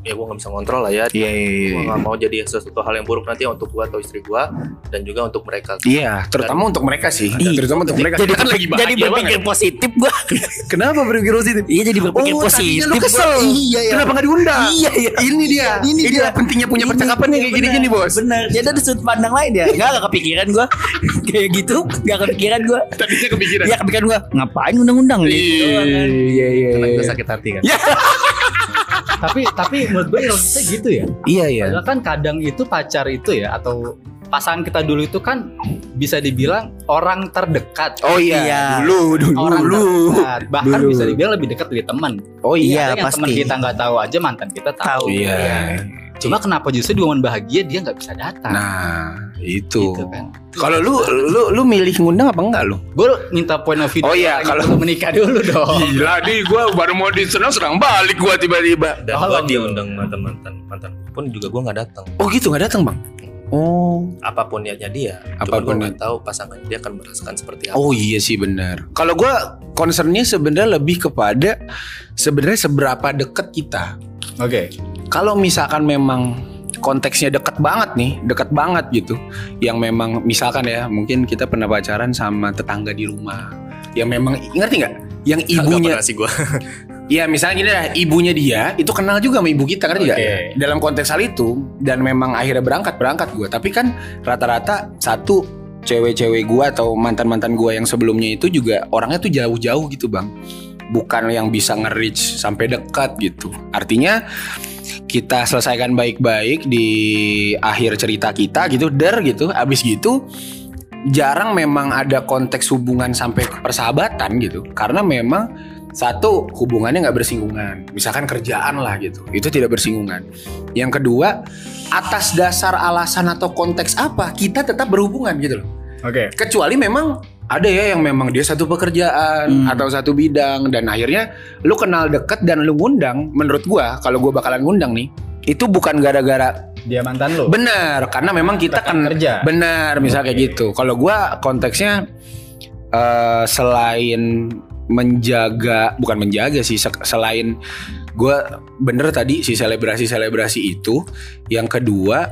[SPEAKER 4] ya gue nggak bisa ngontrol lah ya
[SPEAKER 1] Iya,
[SPEAKER 4] gue
[SPEAKER 1] iya, iya.
[SPEAKER 4] nggak mau jadi sesuatu hal yang buruk nanti untuk gue atau istri gue dan juga untuk mereka
[SPEAKER 1] Iya, terutama untuk mereka sih.
[SPEAKER 2] Iya.
[SPEAKER 1] Terutama untuk mereka.
[SPEAKER 2] Jadi-
[SPEAKER 1] Kita kan lagi
[SPEAKER 2] Jadi
[SPEAKER 1] bahagia
[SPEAKER 2] berpikir
[SPEAKER 1] banget.
[SPEAKER 2] positif gua.
[SPEAKER 1] Kenapa berpikir positif?
[SPEAKER 2] Iya jadi berpikir
[SPEAKER 1] Oh,
[SPEAKER 2] positif.
[SPEAKER 1] tadinya lu
[SPEAKER 2] gua.
[SPEAKER 1] kesel.
[SPEAKER 2] Iya iya.
[SPEAKER 1] Kenapa nggak diundang?
[SPEAKER 2] Iya iya.
[SPEAKER 1] Ini dia. Ini
[SPEAKER 2] Inilah
[SPEAKER 1] dia. pentingnya punya
[SPEAKER 2] Ini,
[SPEAKER 1] percakapan yang
[SPEAKER 2] iya,
[SPEAKER 1] kayak gini-gini,
[SPEAKER 2] benar.
[SPEAKER 1] Bos.
[SPEAKER 2] Benar. Jadi Ya ada sudut pandang lain ya. Enggak enggak kepikiran gua. Kayak gitu, enggak kepikiran gua.
[SPEAKER 1] Tadinya kepikiran.
[SPEAKER 2] Iya kepikiran gua. Ngapain undang-undang gitu
[SPEAKER 1] Iya,
[SPEAKER 2] doang kan.
[SPEAKER 1] iya, iya.
[SPEAKER 4] karena
[SPEAKER 1] iya.
[SPEAKER 4] gue sakit hati kan
[SPEAKER 3] tapi tapi menurut gue ironisnya gitu ya
[SPEAKER 1] Iya, iya.
[SPEAKER 3] Padahal kan kadang itu pacar itu ya atau pasangan kita dulu itu kan bisa dibilang orang terdekat.
[SPEAKER 1] Oh iya,
[SPEAKER 2] Iya.
[SPEAKER 1] dulu, dulu,
[SPEAKER 3] orang
[SPEAKER 1] dulu.
[SPEAKER 3] terdekat. Bahkan
[SPEAKER 1] Dulu.
[SPEAKER 3] bisa dibilang lebih dekat dari teman.
[SPEAKER 1] Oh iya.
[SPEAKER 2] Iya,
[SPEAKER 3] Ada yang teman
[SPEAKER 2] pasti.
[SPEAKER 3] kita nggak tahu aja mantan kita tahu.
[SPEAKER 2] Tahu.
[SPEAKER 1] Iya.
[SPEAKER 3] Cuma kenapa justru di momen bahagia dia nggak bisa datang?
[SPEAKER 1] Nah, itu.
[SPEAKER 3] Gitu kan.
[SPEAKER 1] Kalau lu lu lu milih ngundang apa enggak lu?
[SPEAKER 3] Gue minta point of view.
[SPEAKER 1] Oh iya,
[SPEAKER 3] lagi
[SPEAKER 1] kalau- Iya.
[SPEAKER 3] untuk menikah
[SPEAKER 2] Oh.
[SPEAKER 3] dulu dong.
[SPEAKER 1] Gila nih gua baru mau disenang serang balik gua tiba-tiba.
[SPEAKER 4] dan
[SPEAKER 3] Oh,
[SPEAKER 4] gue
[SPEAKER 3] lu.
[SPEAKER 4] diundang mantan mantan mantan pun juga gue nggak datang
[SPEAKER 1] Oh gitu nggak datang, Bang. Oh.
[SPEAKER 4] apapun niatnya dia
[SPEAKER 1] Apapun
[SPEAKER 4] apapun gue nggak tahu pasangan dia akan merasakan seperti apa
[SPEAKER 1] Oh iya sih benar. Kalau gua concernnya sebenarnya lebih kepada sebenarnya seberapa deket kita.
[SPEAKER 3] Oke.
[SPEAKER 1] kalau misalkan memang konteksnya dekat banget nih, dekat banget gitu, yang memang misalkan ya mungkin kita pernah pacaran sama tetangga di rumah, yang memang ngerti nggak? Yang ibunya,
[SPEAKER 4] sih gue
[SPEAKER 1] ya misalnya gini dah, ibunya dia itu kenal juga sama ibu kita ngerti nggak?
[SPEAKER 3] Oke.
[SPEAKER 1] Dalam konteks hal itu dan memang akhirnya berangkat berangkat gue, tapi kan rata-rata satu cewek-cewek gue atau mantan-mantan gue yang sebelumnya itu juga orangnya tuh jauh-jauh gitu bang bukan yang bisa nge-reach sampai dekat gitu. Artinya kita selesaikan baik-baik di akhir cerita kita gitu, der gitu. Abis gitu jarang memang ada konteks hubungan sampai ke persahabatan gitu. Karena memang satu hubungannya nggak bersinggungan. Misalkan kerjaan lah gitu. Itu tidak bersinggungan. Yang kedua, atas dasar alasan atau konteks apa kita tetap berhubungan gitu loh
[SPEAKER 3] Oke.
[SPEAKER 1] kecuali memang ada ya yang memang dia satu pekerjaan
[SPEAKER 2] Hmm.
[SPEAKER 1] atau satu bidang dan akhirnya lu kenal deket dan lu ngundang menurut gua kalau gua bakalan ngundang nih itu bukan gara-gara
[SPEAKER 3] Dia mantan lo.
[SPEAKER 1] benar karena memang kita
[SPEAKER 3] Rekan
[SPEAKER 1] kan
[SPEAKER 3] kerja.
[SPEAKER 1] benar misal kayak
[SPEAKER 3] Iya. Oke.
[SPEAKER 1] gitu kalau gua konteksnya eh, selain menjaga bukan menjaga sih se- selain gua bener tadi si selebrasi selebrasi itu yang kedua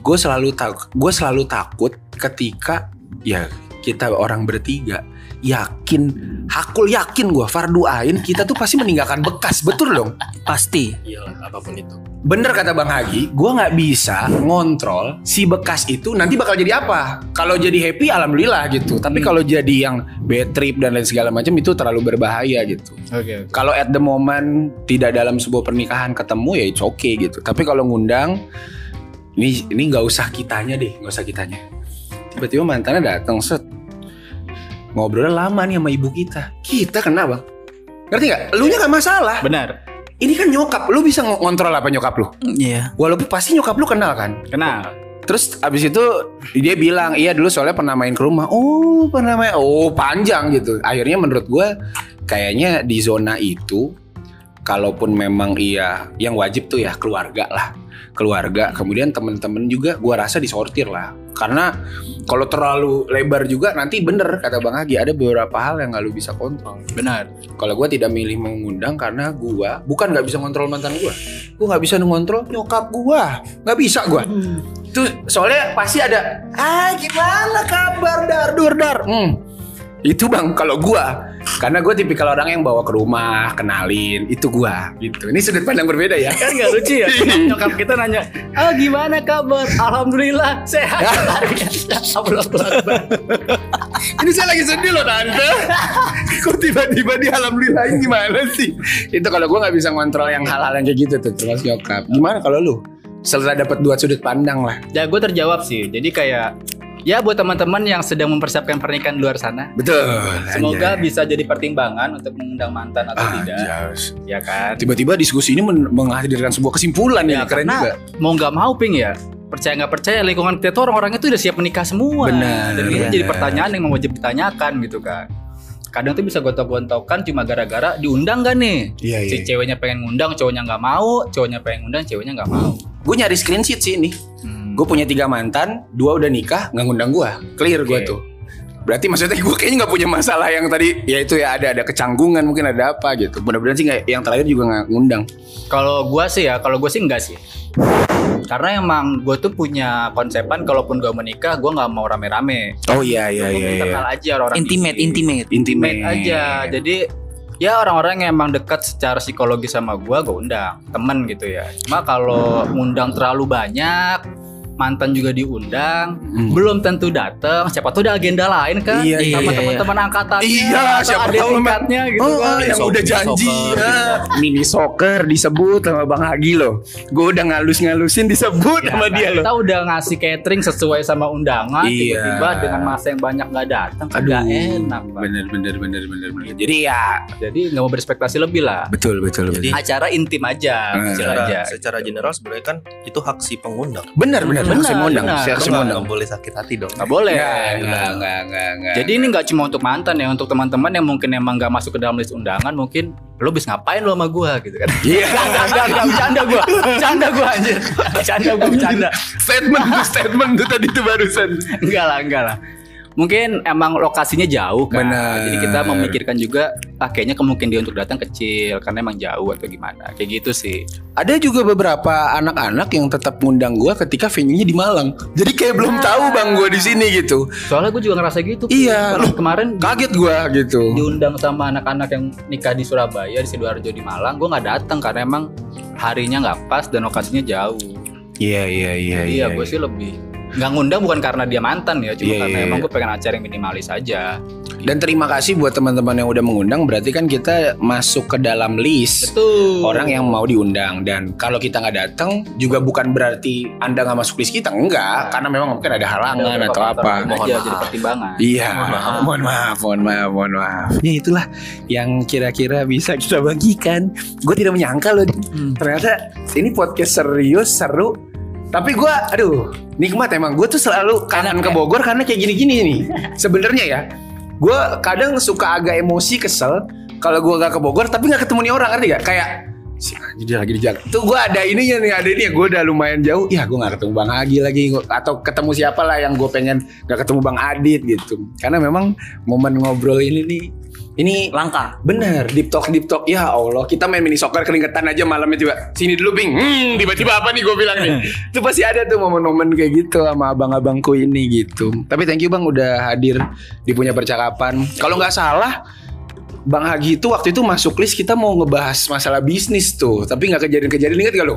[SPEAKER 1] gue selalu tak gue selalu takut ketika ya kita orang bertiga yakin hakul yakin gua fardu ain kita tuh pasti meninggalkan bekas betul dong
[SPEAKER 2] Pasti.
[SPEAKER 4] iyalah Iya, apapun itu
[SPEAKER 1] Bener kata Bang Hagi, gue nggak bisa ngontrol si bekas itu nanti bakal jadi apa. Kalau jadi happy, alhamdulillah gitu. Tapi kalau jadi yang bad trip dan lain segala macam itu terlalu berbahaya gitu.
[SPEAKER 3] Oke.
[SPEAKER 1] Kalau at the moment tidak dalam sebuah pernikahan ketemu ya it's okay gitu. Tapi kalau ngundang, ini ini nggak usah kitanya deh, nggak usah kitanya. Tiba-tiba mantannya datang set ngobrol lama nih sama ibu kita. Kita kena bang, ngerti nggak? Lu nya nggak masalah.
[SPEAKER 3] Benar.
[SPEAKER 1] Ini kan nyokap, lu bisa ng- ngontrol apa nyokap lu?
[SPEAKER 2] Iya.
[SPEAKER 1] Walaupun pasti nyokap lu kenal kan
[SPEAKER 3] Kenal.
[SPEAKER 1] Terus abis itu dia bilang Iya dulu soalnya pernah main ke rumah Oh pernah main Oh panjang gitu Akhirnya menurut gue Kayaknya di zona itu Kalaupun memang iya Yang wajib tuh ya keluarga lah Keluarga Kemudian temen-temen juga gue rasa disortir lah Karena Kalau terlalu lebar juga Nanti bener kata Bang Agi Ada beberapa hal yang gak lu bisa kontrol
[SPEAKER 3] Benar.
[SPEAKER 1] kalau gue tidak milih mengundang karena gue bukan nggak bisa ngontrol mantan gue, gue nggak bisa ngontrol nyokap gue, nggak bisa gue. Itu soalnya pasti ada, ah gimana kabar dar dur dar. Hmm. Itu bang kalau gue, karena gue tipikal orang yang bawa ke rumah, kenalin, itu gue. Gitu. Ini sudut pandang berbeda ya.
[SPEAKER 3] Kan nggak lucu ya Nyokap kita nanya Ah gimana kabar? Alhamdulillah sehat
[SPEAKER 1] Ini saya lagi sedih loh tante. Kok tiba-tiba di alhamdulillah ini gimana sih? Itu kalau gue nggak bisa ngontrol yang hal-hal yang kayak gitu tuh terus nyokap. Gimana kalau lu? Setelah dapat dua sudut pandang lah.
[SPEAKER 3] Ya gue terjawab sih Jadi kayak Ya buat teman-teman yang sedang mempersiapkan pernikahan di luar sana
[SPEAKER 1] Betul.
[SPEAKER 3] Semoga bisa jadi pertimbangan untuk mengundang mantan atau
[SPEAKER 1] Ah, iya.
[SPEAKER 3] tidak Ya kan
[SPEAKER 1] Tiba-tiba diskusi ini men- menghadirkan sebuah kesimpulan ya,
[SPEAKER 3] Ya,
[SPEAKER 1] keren
[SPEAKER 3] karena-
[SPEAKER 1] juga.
[SPEAKER 3] Mau nggak mau ping ya Percaya nggak percaya lingkungan kita tuh orang-orangnya tuh udah siap menikah semua
[SPEAKER 1] Benar,
[SPEAKER 3] Dan ini
[SPEAKER 1] benar.
[SPEAKER 3] jadi pertanyaan yang wajib ditanyakan gitu kan Kadang tuh bisa gontok-gontokan cuma gara-gara diundang gak nih
[SPEAKER 1] Iya
[SPEAKER 3] Si ceweknya pengen ngundang, cowoknya nggak mau, cowoknya pengen ngundang, ceweknya nggak mau.
[SPEAKER 1] Gue nyari screenshot sih ini.
[SPEAKER 3] Hmm.
[SPEAKER 1] Gue punya tiga mantan, dua udah nikah, nggak ngundang gue. Clear gue
[SPEAKER 3] Oke.
[SPEAKER 1] tuh. Berarti maksudnya gue kayaknya nggak punya masalah yang tadi ya itu ya ada ada kecanggungan mungkin ada apa gitu. Mudah-mudahan sih nggak- yang terakhir juga nggak ngundang.
[SPEAKER 3] Kalau gua sih ya, kalau gue sih enggak sih. Karena emang gue tuh punya konsepan kalaupun gue menikah, gue nggak mau rame-rame.
[SPEAKER 1] Oh iya iya
[SPEAKER 3] Gua Internal aja orang
[SPEAKER 2] intimate intimate
[SPEAKER 1] Intimate
[SPEAKER 3] Intimate aja.
[SPEAKER 1] iya.
[SPEAKER 3] Jadi ya orang-orang yang emang dekat secara psikologis sama gue, gue undang temen gitu ya. Cuma kalau ngundang terlalu banyak, mantan juga diundang,
[SPEAKER 1] Hmm.
[SPEAKER 3] belum tentu datang. Siapa tuh ada agenda lain kan?
[SPEAKER 1] Iya,
[SPEAKER 2] iya,
[SPEAKER 3] sama
[SPEAKER 2] iya.
[SPEAKER 3] teman-teman angkatannya,
[SPEAKER 1] Iya,
[SPEAKER 3] atau
[SPEAKER 1] siapa
[SPEAKER 3] adik
[SPEAKER 1] tahu memang-
[SPEAKER 3] tingkatnya gitu
[SPEAKER 1] Oh,
[SPEAKER 3] kan.
[SPEAKER 1] yang
[SPEAKER 4] Soccer,
[SPEAKER 1] udah janji
[SPEAKER 4] soccer,
[SPEAKER 1] ya. mini soccer disebut sama Bang Hagi loh. Gue udah ngalus-ngalusin disebut sama
[SPEAKER 3] Nah,
[SPEAKER 1] dia loh.
[SPEAKER 3] Kita udah ngasih catering sesuai sama undangan,
[SPEAKER 1] Iya.
[SPEAKER 3] tiba-tiba dengan masa yang banyak nggak datang, kan
[SPEAKER 1] Aduh,
[SPEAKER 3] nggak enak. Pak.
[SPEAKER 1] Bener bener bener bener bener. Jadi ya
[SPEAKER 3] Jadi nggak mau berespektasi lebih lah.
[SPEAKER 1] betul betul betul.
[SPEAKER 4] Jadi-
[SPEAKER 3] Acara intim aja,
[SPEAKER 1] Hmm.
[SPEAKER 3] kecil
[SPEAKER 4] secara,
[SPEAKER 3] aja.
[SPEAKER 4] secara general sebenarnya kan itu hak si pengundang.
[SPEAKER 1] Bener bener.
[SPEAKER 3] Bener,
[SPEAKER 1] Saya mau undang.
[SPEAKER 3] bener.
[SPEAKER 1] Saya
[SPEAKER 4] Lo
[SPEAKER 1] harus
[SPEAKER 4] nggak-
[SPEAKER 1] mau undang.
[SPEAKER 4] nggak boleh sakit hati dong.
[SPEAKER 3] Nggak boleh.
[SPEAKER 1] Iya, enggak, enggak, enggak, enggak.
[SPEAKER 3] Jadi ini nggak cuma untuk mantan ya, untuk teman-teman yang mungkin emang nggak masuk ke dalam list undangan, mungkin lo bis ngapain lo sama gua gitu kan?
[SPEAKER 1] Iya.
[SPEAKER 3] Enggak, enggak, enggak, bercanda gua, bercanda gua anjir, bercanda gua, bercanda.
[SPEAKER 1] statement tuh statement tuh tadi tuh barusan.
[SPEAKER 3] Enggak lah, enggak lah. Mungkin emang lokasinya jauh kan.
[SPEAKER 1] Benar.
[SPEAKER 3] Jadi kita memikirkan juga ah, kayaknya kemungkinan dia untuk datang kecil karena emang jauh atau gimana. Kayak gitu sih.
[SPEAKER 1] Ada juga beberapa anak-anak yang tetap ngundang gua ketika venue-nya di Malang. Jadi kayak belum tahu bang gua di sini gitu.
[SPEAKER 3] Soalnya gue juga ngerasa gitu.
[SPEAKER 1] Iya,
[SPEAKER 3] Pernah kemarin
[SPEAKER 1] Kaget gua gitu.
[SPEAKER 3] diundang sama anak-anak yang nikah di Surabaya di Sidoarjo di Malang, gue nggak datang karena emang harinya nggak pas dan lokasinya jauh.
[SPEAKER 1] Iya iya iya.
[SPEAKER 3] Jadi ya gue sih lebih nggak ngundang bukan karena dia mantan ya, cuma
[SPEAKER 1] Iya,
[SPEAKER 3] karena
[SPEAKER 1] iya,
[SPEAKER 3] emang
[SPEAKER 1] iya.
[SPEAKER 3] gue pengen acara yang minimalis aja.
[SPEAKER 1] Dan terima kasih buat teman-teman yang udah mengundang. Berarti kan kita masuk ke dalam list
[SPEAKER 3] Betul.
[SPEAKER 1] orang yang mau diundang. Dan kalau kita nggak datang juga bukan berarti anda nggak masuk list kita. Enggak, karena memang mungkin ada halangan atau apa.
[SPEAKER 3] Iya, Mohon
[SPEAKER 4] Mohon
[SPEAKER 3] aja,
[SPEAKER 4] maaf.
[SPEAKER 3] jadi pertimbangan.
[SPEAKER 1] Iya,
[SPEAKER 4] Mohon maaf.
[SPEAKER 1] mohon maaf, mohon maaf, mohon maaf. Ya itulah yang kira-kira bisa kita bagikan. Gue tidak menyangka loh, Din.
[SPEAKER 2] Hmm.
[SPEAKER 1] ternyata ini podcast serius, seru. Tapi gue, aduh, nikmat emang. Gue tuh selalu kangen ke Bogor karena kayak gini-gini nih. Sebenarnya ya, gue kadang suka agak emosi, kesel. Kalau gue gak ke Bogor, tapi gak ketemu nih orang, ngerti gak? Kayak si anjing dia lagi di Jakarta. Tuh gue ada ininya nih, ada ini gue udah lumayan jauh. Ya gue gak ketemu Bang Agi lagi Gua- atau ketemu siapa lah yang gue pengen gak ketemu Bang Adit gitu. Karena memang momen ngobrol ini nih, ini
[SPEAKER 2] langka
[SPEAKER 1] bener deep talk deep talk ya Allah kita main mini soccer keringetan aja malamnya tiba sini dulu bing hmm, tiba-tiba apa nih gue bilang nih itu pasti ada tuh momen-momen kayak gitu sama abang-abangku ini gitu tapi thank you bang udah hadir di punya percakapan kalau nggak salah Bang Hagi itu waktu itu masuk list kita mau ngebahas masalah bisnis tuh Tapi nggak kejadian-kejadian inget gak lo?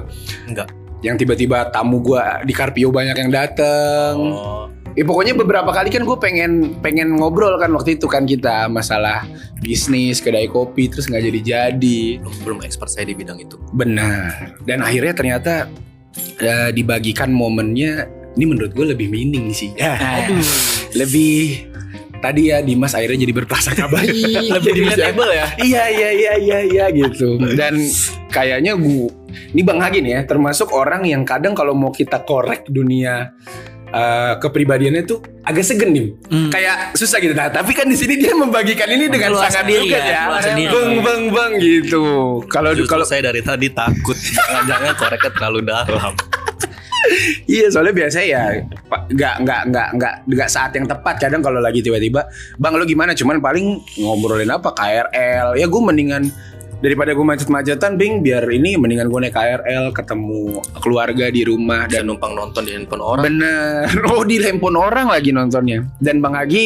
[SPEAKER 4] Enggak.
[SPEAKER 1] Yang tiba-tiba tamu gua di Carpio banyak yang dateng
[SPEAKER 4] Oh,
[SPEAKER 1] Ya pokoknya beberapa kali kan gue pengen pengen ngobrol kan waktu itu kan kita masalah bisnis kedai kopi terus nggak jadi jadi
[SPEAKER 4] belum, belum expert saya di bidang itu.
[SPEAKER 1] benar dan akhirnya ternyata eh, dibagikan momennya ini menurut gue lebih meaning sih
[SPEAKER 2] aduh
[SPEAKER 1] lebih tadi ya Dimas akhirnya jadi berprasangka baik
[SPEAKER 3] Lebih
[SPEAKER 1] jadi berprasangka-
[SPEAKER 3] relatable ya.
[SPEAKER 1] iya iya iya iya iya gitu dan kayaknya gue ini bang Hagi nih ya termasuk orang yang kadang kalau mau kita korek dunia eh, kepribadiannya tuh agak segen nih
[SPEAKER 2] Hmm.
[SPEAKER 1] kayak susah gitu nah tapi kan di sini dia membagikan ini dengan
[SPEAKER 2] Keluar
[SPEAKER 1] sangat
[SPEAKER 2] sendiri
[SPEAKER 1] juga
[SPEAKER 2] ya,
[SPEAKER 1] ya,
[SPEAKER 2] keluar sendiri.
[SPEAKER 1] bang bang bang gitu kalau
[SPEAKER 4] Justru
[SPEAKER 1] kalau
[SPEAKER 4] saya dari tadi takut jangan-jangan koreknya terlalu dalam.
[SPEAKER 1] Iya soalnya biasanya ya pa- nggak nggak nggak nggak nggak saat yang tepat kadang kalau lagi tiba-tiba bang lo gimana cuman paling ngobrolin apa KRL ya gue mendingan daripada gue macet-macetan bing biar ini mendingan gue naik KRL ketemu keluarga di rumah dan
[SPEAKER 4] Dan numpang nonton di handphone orang.
[SPEAKER 1] bener oh di handphone orang lagi nontonnya dan bang Agi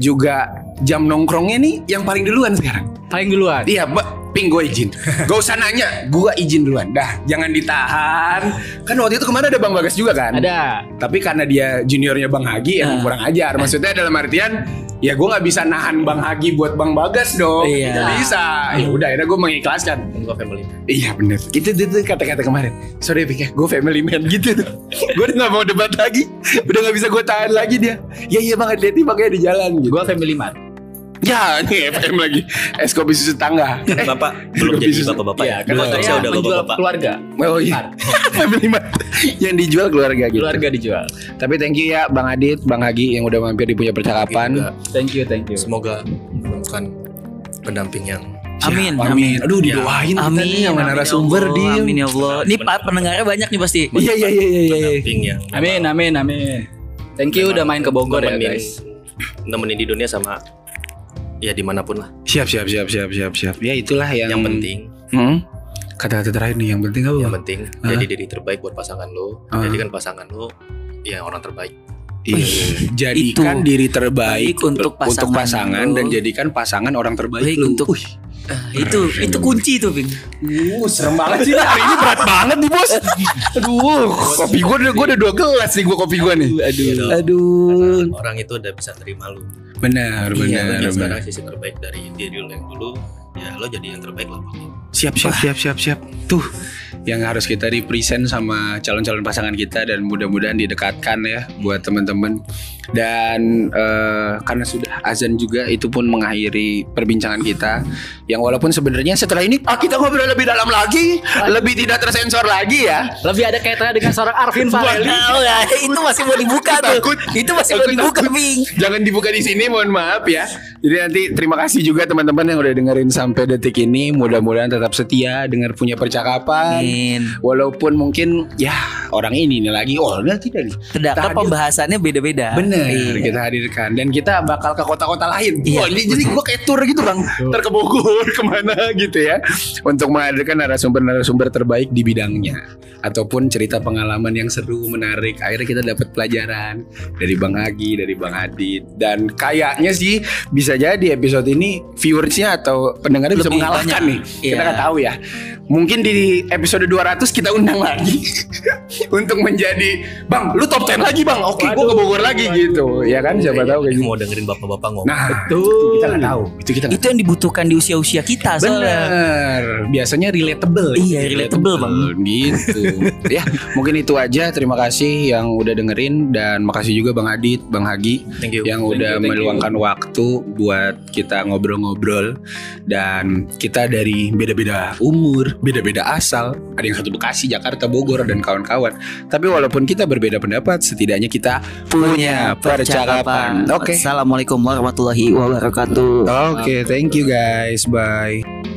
[SPEAKER 1] juga jam nongkrongnya nih yang paling duluan sekarang
[SPEAKER 3] Paling duluan.
[SPEAKER 1] Iya, Mbak, ping gue izin. Gak usah nanya, gue izin duluan. Dah, jangan ditahan. Kan waktu itu kemarin ada Bang Bagas juga kan?
[SPEAKER 3] Ada.
[SPEAKER 1] Tapi karena dia juniornya Bang Hagi yang
[SPEAKER 3] Ah.
[SPEAKER 2] Nah.
[SPEAKER 1] kurang ajar. Maksudnya dalam artian ya gue nggak bisa nahan Bang Hagi buat Bang Bagas dong.
[SPEAKER 2] Iya.
[SPEAKER 1] Nggak bisa. Ya udah, akhirnya gue mengikhlaskan.
[SPEAKER 4] Gua family.
[SPEAKER 1] Iya bener. Itu itu itu kata-kata kemarin. Sorry ya, Pika, gue family man gitu. gue nggak mau debat lagi. Udah nggak bisa gue tahan lagi dia. Ya iya Bang, hati-hati makanya di jalan gitu.
[SPEAKER 3] Gue family man.
[SPEAKER 1] Ya, ini FM lagi. Es kopi susu tangga. Eh,
[SPEAKER 4] Bapak belum jadi
[SPEAKER 1] Bisa.
[SPEAKER 4] bapak-bapak ya.
[SPEAKER 3] karena
[SPEAKER 4] Motor
[SPEAKER 3] saya
[SPEAKER 4] saya udah
[SPEAKER 3] Iya, menjual
[SPEAKER 4] bapak-bapak.
[SPEAKER 3] keluarga.
[SPEAKER 1] Oh iya. Family Mart. yang dijual keluarga gitu.
[SPEAKER 3] Keluarga dijual.
[SPEAKER 1] Tapi thank you ya Bang Adit, Bang Agi yang udah mampir di punya percakapan.
[SPEAKER 4] Juga.
[SPEAKER 3] Thank you, thank you.
[SPEAKER 4] Semoga menemukan pendamping yang
[SPEAKER 2] amin
[SPEAKER 1] Ya,
[SPEAKER 2] amin
[SPEAKER 1] Aduh didoain kita
[SPEAKER 2] amin
[SPEAKER 1] nih sama
[SPEAKER 2] amin ya
[SPEAKER 1] narasumber
[SPEAKER 2] Allah,
[SPEAKER 1] dia.
[SPEAKER 2] amin ya Allah ini pa- pendengarnya banyak nih pasti
[SPEAKER 1] Iya iya iya iya iya.
[SPEAKER 4] pendamping yang
[SPEAKER 3] Amin, amin, amin. Thank you udah main ke Bogor ya guys.
[SPEAKER 4] nemenin di dunia sama ya dimanapun lah.
[SPEAKER 1] Siap siap siap siap siap siap. Ya itulah yang
[SPEAKER 4] Yang penting,
[SPEAKER 1] Mm-mm. Kata-kata terakhir nih yang penting apa?
[SPEAKER 4] yang penting
[SPEAKER 1] Hah?
[SPEAKER 4] jadi diri terbaik buat pasangan lo.
[SPEAKER 1] Iya. Ah.
[SPEAKER 4] Jadikan pasangan lo ya orang terbaik.
[SPEAKER 1] Iya. Jadikan
[SPEAKER 2] Itu.
[SPEAKER 1] diri terbaik
[SPEAKER 2] Baik untuk pasangan
[SPEAKER 1] untuk pasangan
[SPEAKER 2] lo.
[SPEAKER 1] dan jadikan pasangan orang terbaik
[SPEAKER 2] Baik
[SPEAKER 1] lu.
[SPEAKER 2] untuk-
[SPEAKER 1] Wih.
[SPEAKER 2] Ah, itu itu kunci tuh Bing.
[SPEAKER 1] Uh, serem banget sih hari ini berat banget nih bos. Aduh, kopi gue udah gue udah dua gelas nih gue kopi gue nih.
[SPEAKER 4] Aduh.
[SPEAKER 2] Aduh.
[SPEAKER 4] Karena orang itu udah bisa terima lo.
[SPEAKER 1] Benar benar.
[SPEAKER 4] Iya, mungkin
[SPEAKER 1] benar.
[SPEAKER 4] sekarang sisi terbaik dari diri lo yang dulu ya lo jadi yang terbaik lah buat dia.
[SPEAKER 1] Siap siap siap siap siap. Tuh yang harus kita represent sama calon-calon pasangan kita dan mudah-mudahan didekatkan ya buat teman-teman. Dan eh, karena sudah azan juga itu pun mengakhiri perbincangan kita yang walaupun sebenarnya setelah ini ah, kita ngobrol lebih dalam lagi, lebih tidak tersensor lagi ya.
[SPEAKER 3] Lebih ada kaitannya dengan seorang Arvin Fareli.
[SPEAKER 2] Tahu nggak? itu masih mau dibuka tuh.
[SPEAKER 1] Takut.
[SPEAKER 2] Itu masih mau
[SPEAKER 1] Takut,
[SPEAKER 2] dibuka
[SPEAKER 1] takut.
[SPEAKER 2] Bing.
[SPEAKER 1] Jangan dibuka di sini, mohon maaf ya. Jadi nanti terima kasih juga teman-teman yang udah dengerin sampai detik ini. Mudah-mudahan tetap setia dengar punya percakapan.
[SPEAKER 2] Amin.
[SPEAKER 1] Walaupun mungkin ya orang ini nih lagi oh nah tidak nih.
[SPEAKER 2] Terdapat
[SPEAKER 1] Tadi-
[SPEAKER 2] pembahasannya beda-beda.
[SPEAKER 1] Bener
[SPEAKER 2] Iya.
[SPEAKER 1] kita hadirkan dan kita bakal ke kota-kota lain.
[SPEAKER 2] Iya.
[SPEAKER 1] Oh, ini jadi gua kayak tour gitu bang, ntar ke Bogor kemana gitu ya, untuk menghadirkan narasumber-narasumber terbaik di bidangnya ataupun cerita pengalaman yang seru menarik. Akhirnya kita dapat pelajaran dari Bang Agi, dari Bang Adit dan kayaknya sih bisa jadi episode ini viewersnya atau pendengarnya bisa
[SPEAKER 2] Lebih
[SPEAKER 1] mengalahkan
[SPEAKER 2] banyak.
[SPEAKER 1] nih. Kita
[SPEAKER 2] Iya.
[SPEAKER 1] nggak tahu ya. Mungkin di episode 200 kita undang lagi untuk menjadi Bang, lu top 10 lagi Bang. Oke, gua ke Bogor lagi gitu. Ya kan siapa tahu
[SPEAKER 2] Iya,
[SPEAKER 4] Kayaknya
[SPEAKER 1] kayak
[SPEAKER 4] ini
[SPEAKER 1] gitu.
[SPEAKER 4] Iya, mau dengerin bapak-bapak ngomong.
[SPEAKER 1] Nah, itu kita nggak tahu. Itu kita nggak
[SPEAKER 2] Itu yang dibutuhkan di usia-usia kita soalnya.
[SPEAKER 1] Bener, biasanya relatable.
[SPEAKER 2] Iya, relatable, Bang.
[SPEAKER 1] Gitu. ya, mungkin itu aja. Terima kasih yang udah dengerin dan makasih juga Bang Adit, Bang Hagi
[SPEAKER 4] Thank you.
[SPEAKER 1] yang
[SPEAKER 4] Thank you,
[SPEAKER 1] udah
[SPEAKER 4] thank you.
[SPEAKER 1] meluangkan waktu buat kita ngobrol-ngobrol dan kita dari beda-beda umur, beda-beda asal, ada yang satu Bekasi, Jakarta, Bogor dan kawan-kawan. Tapi walaupun kita berbeda pendapat, setidaknya kita punya percakapan. Oke.
[SPEAKER 2] Assalamualaikum warahmatullahi wabarakatuh.
[SPEAKER 1] Oke, thank you guys. Bye.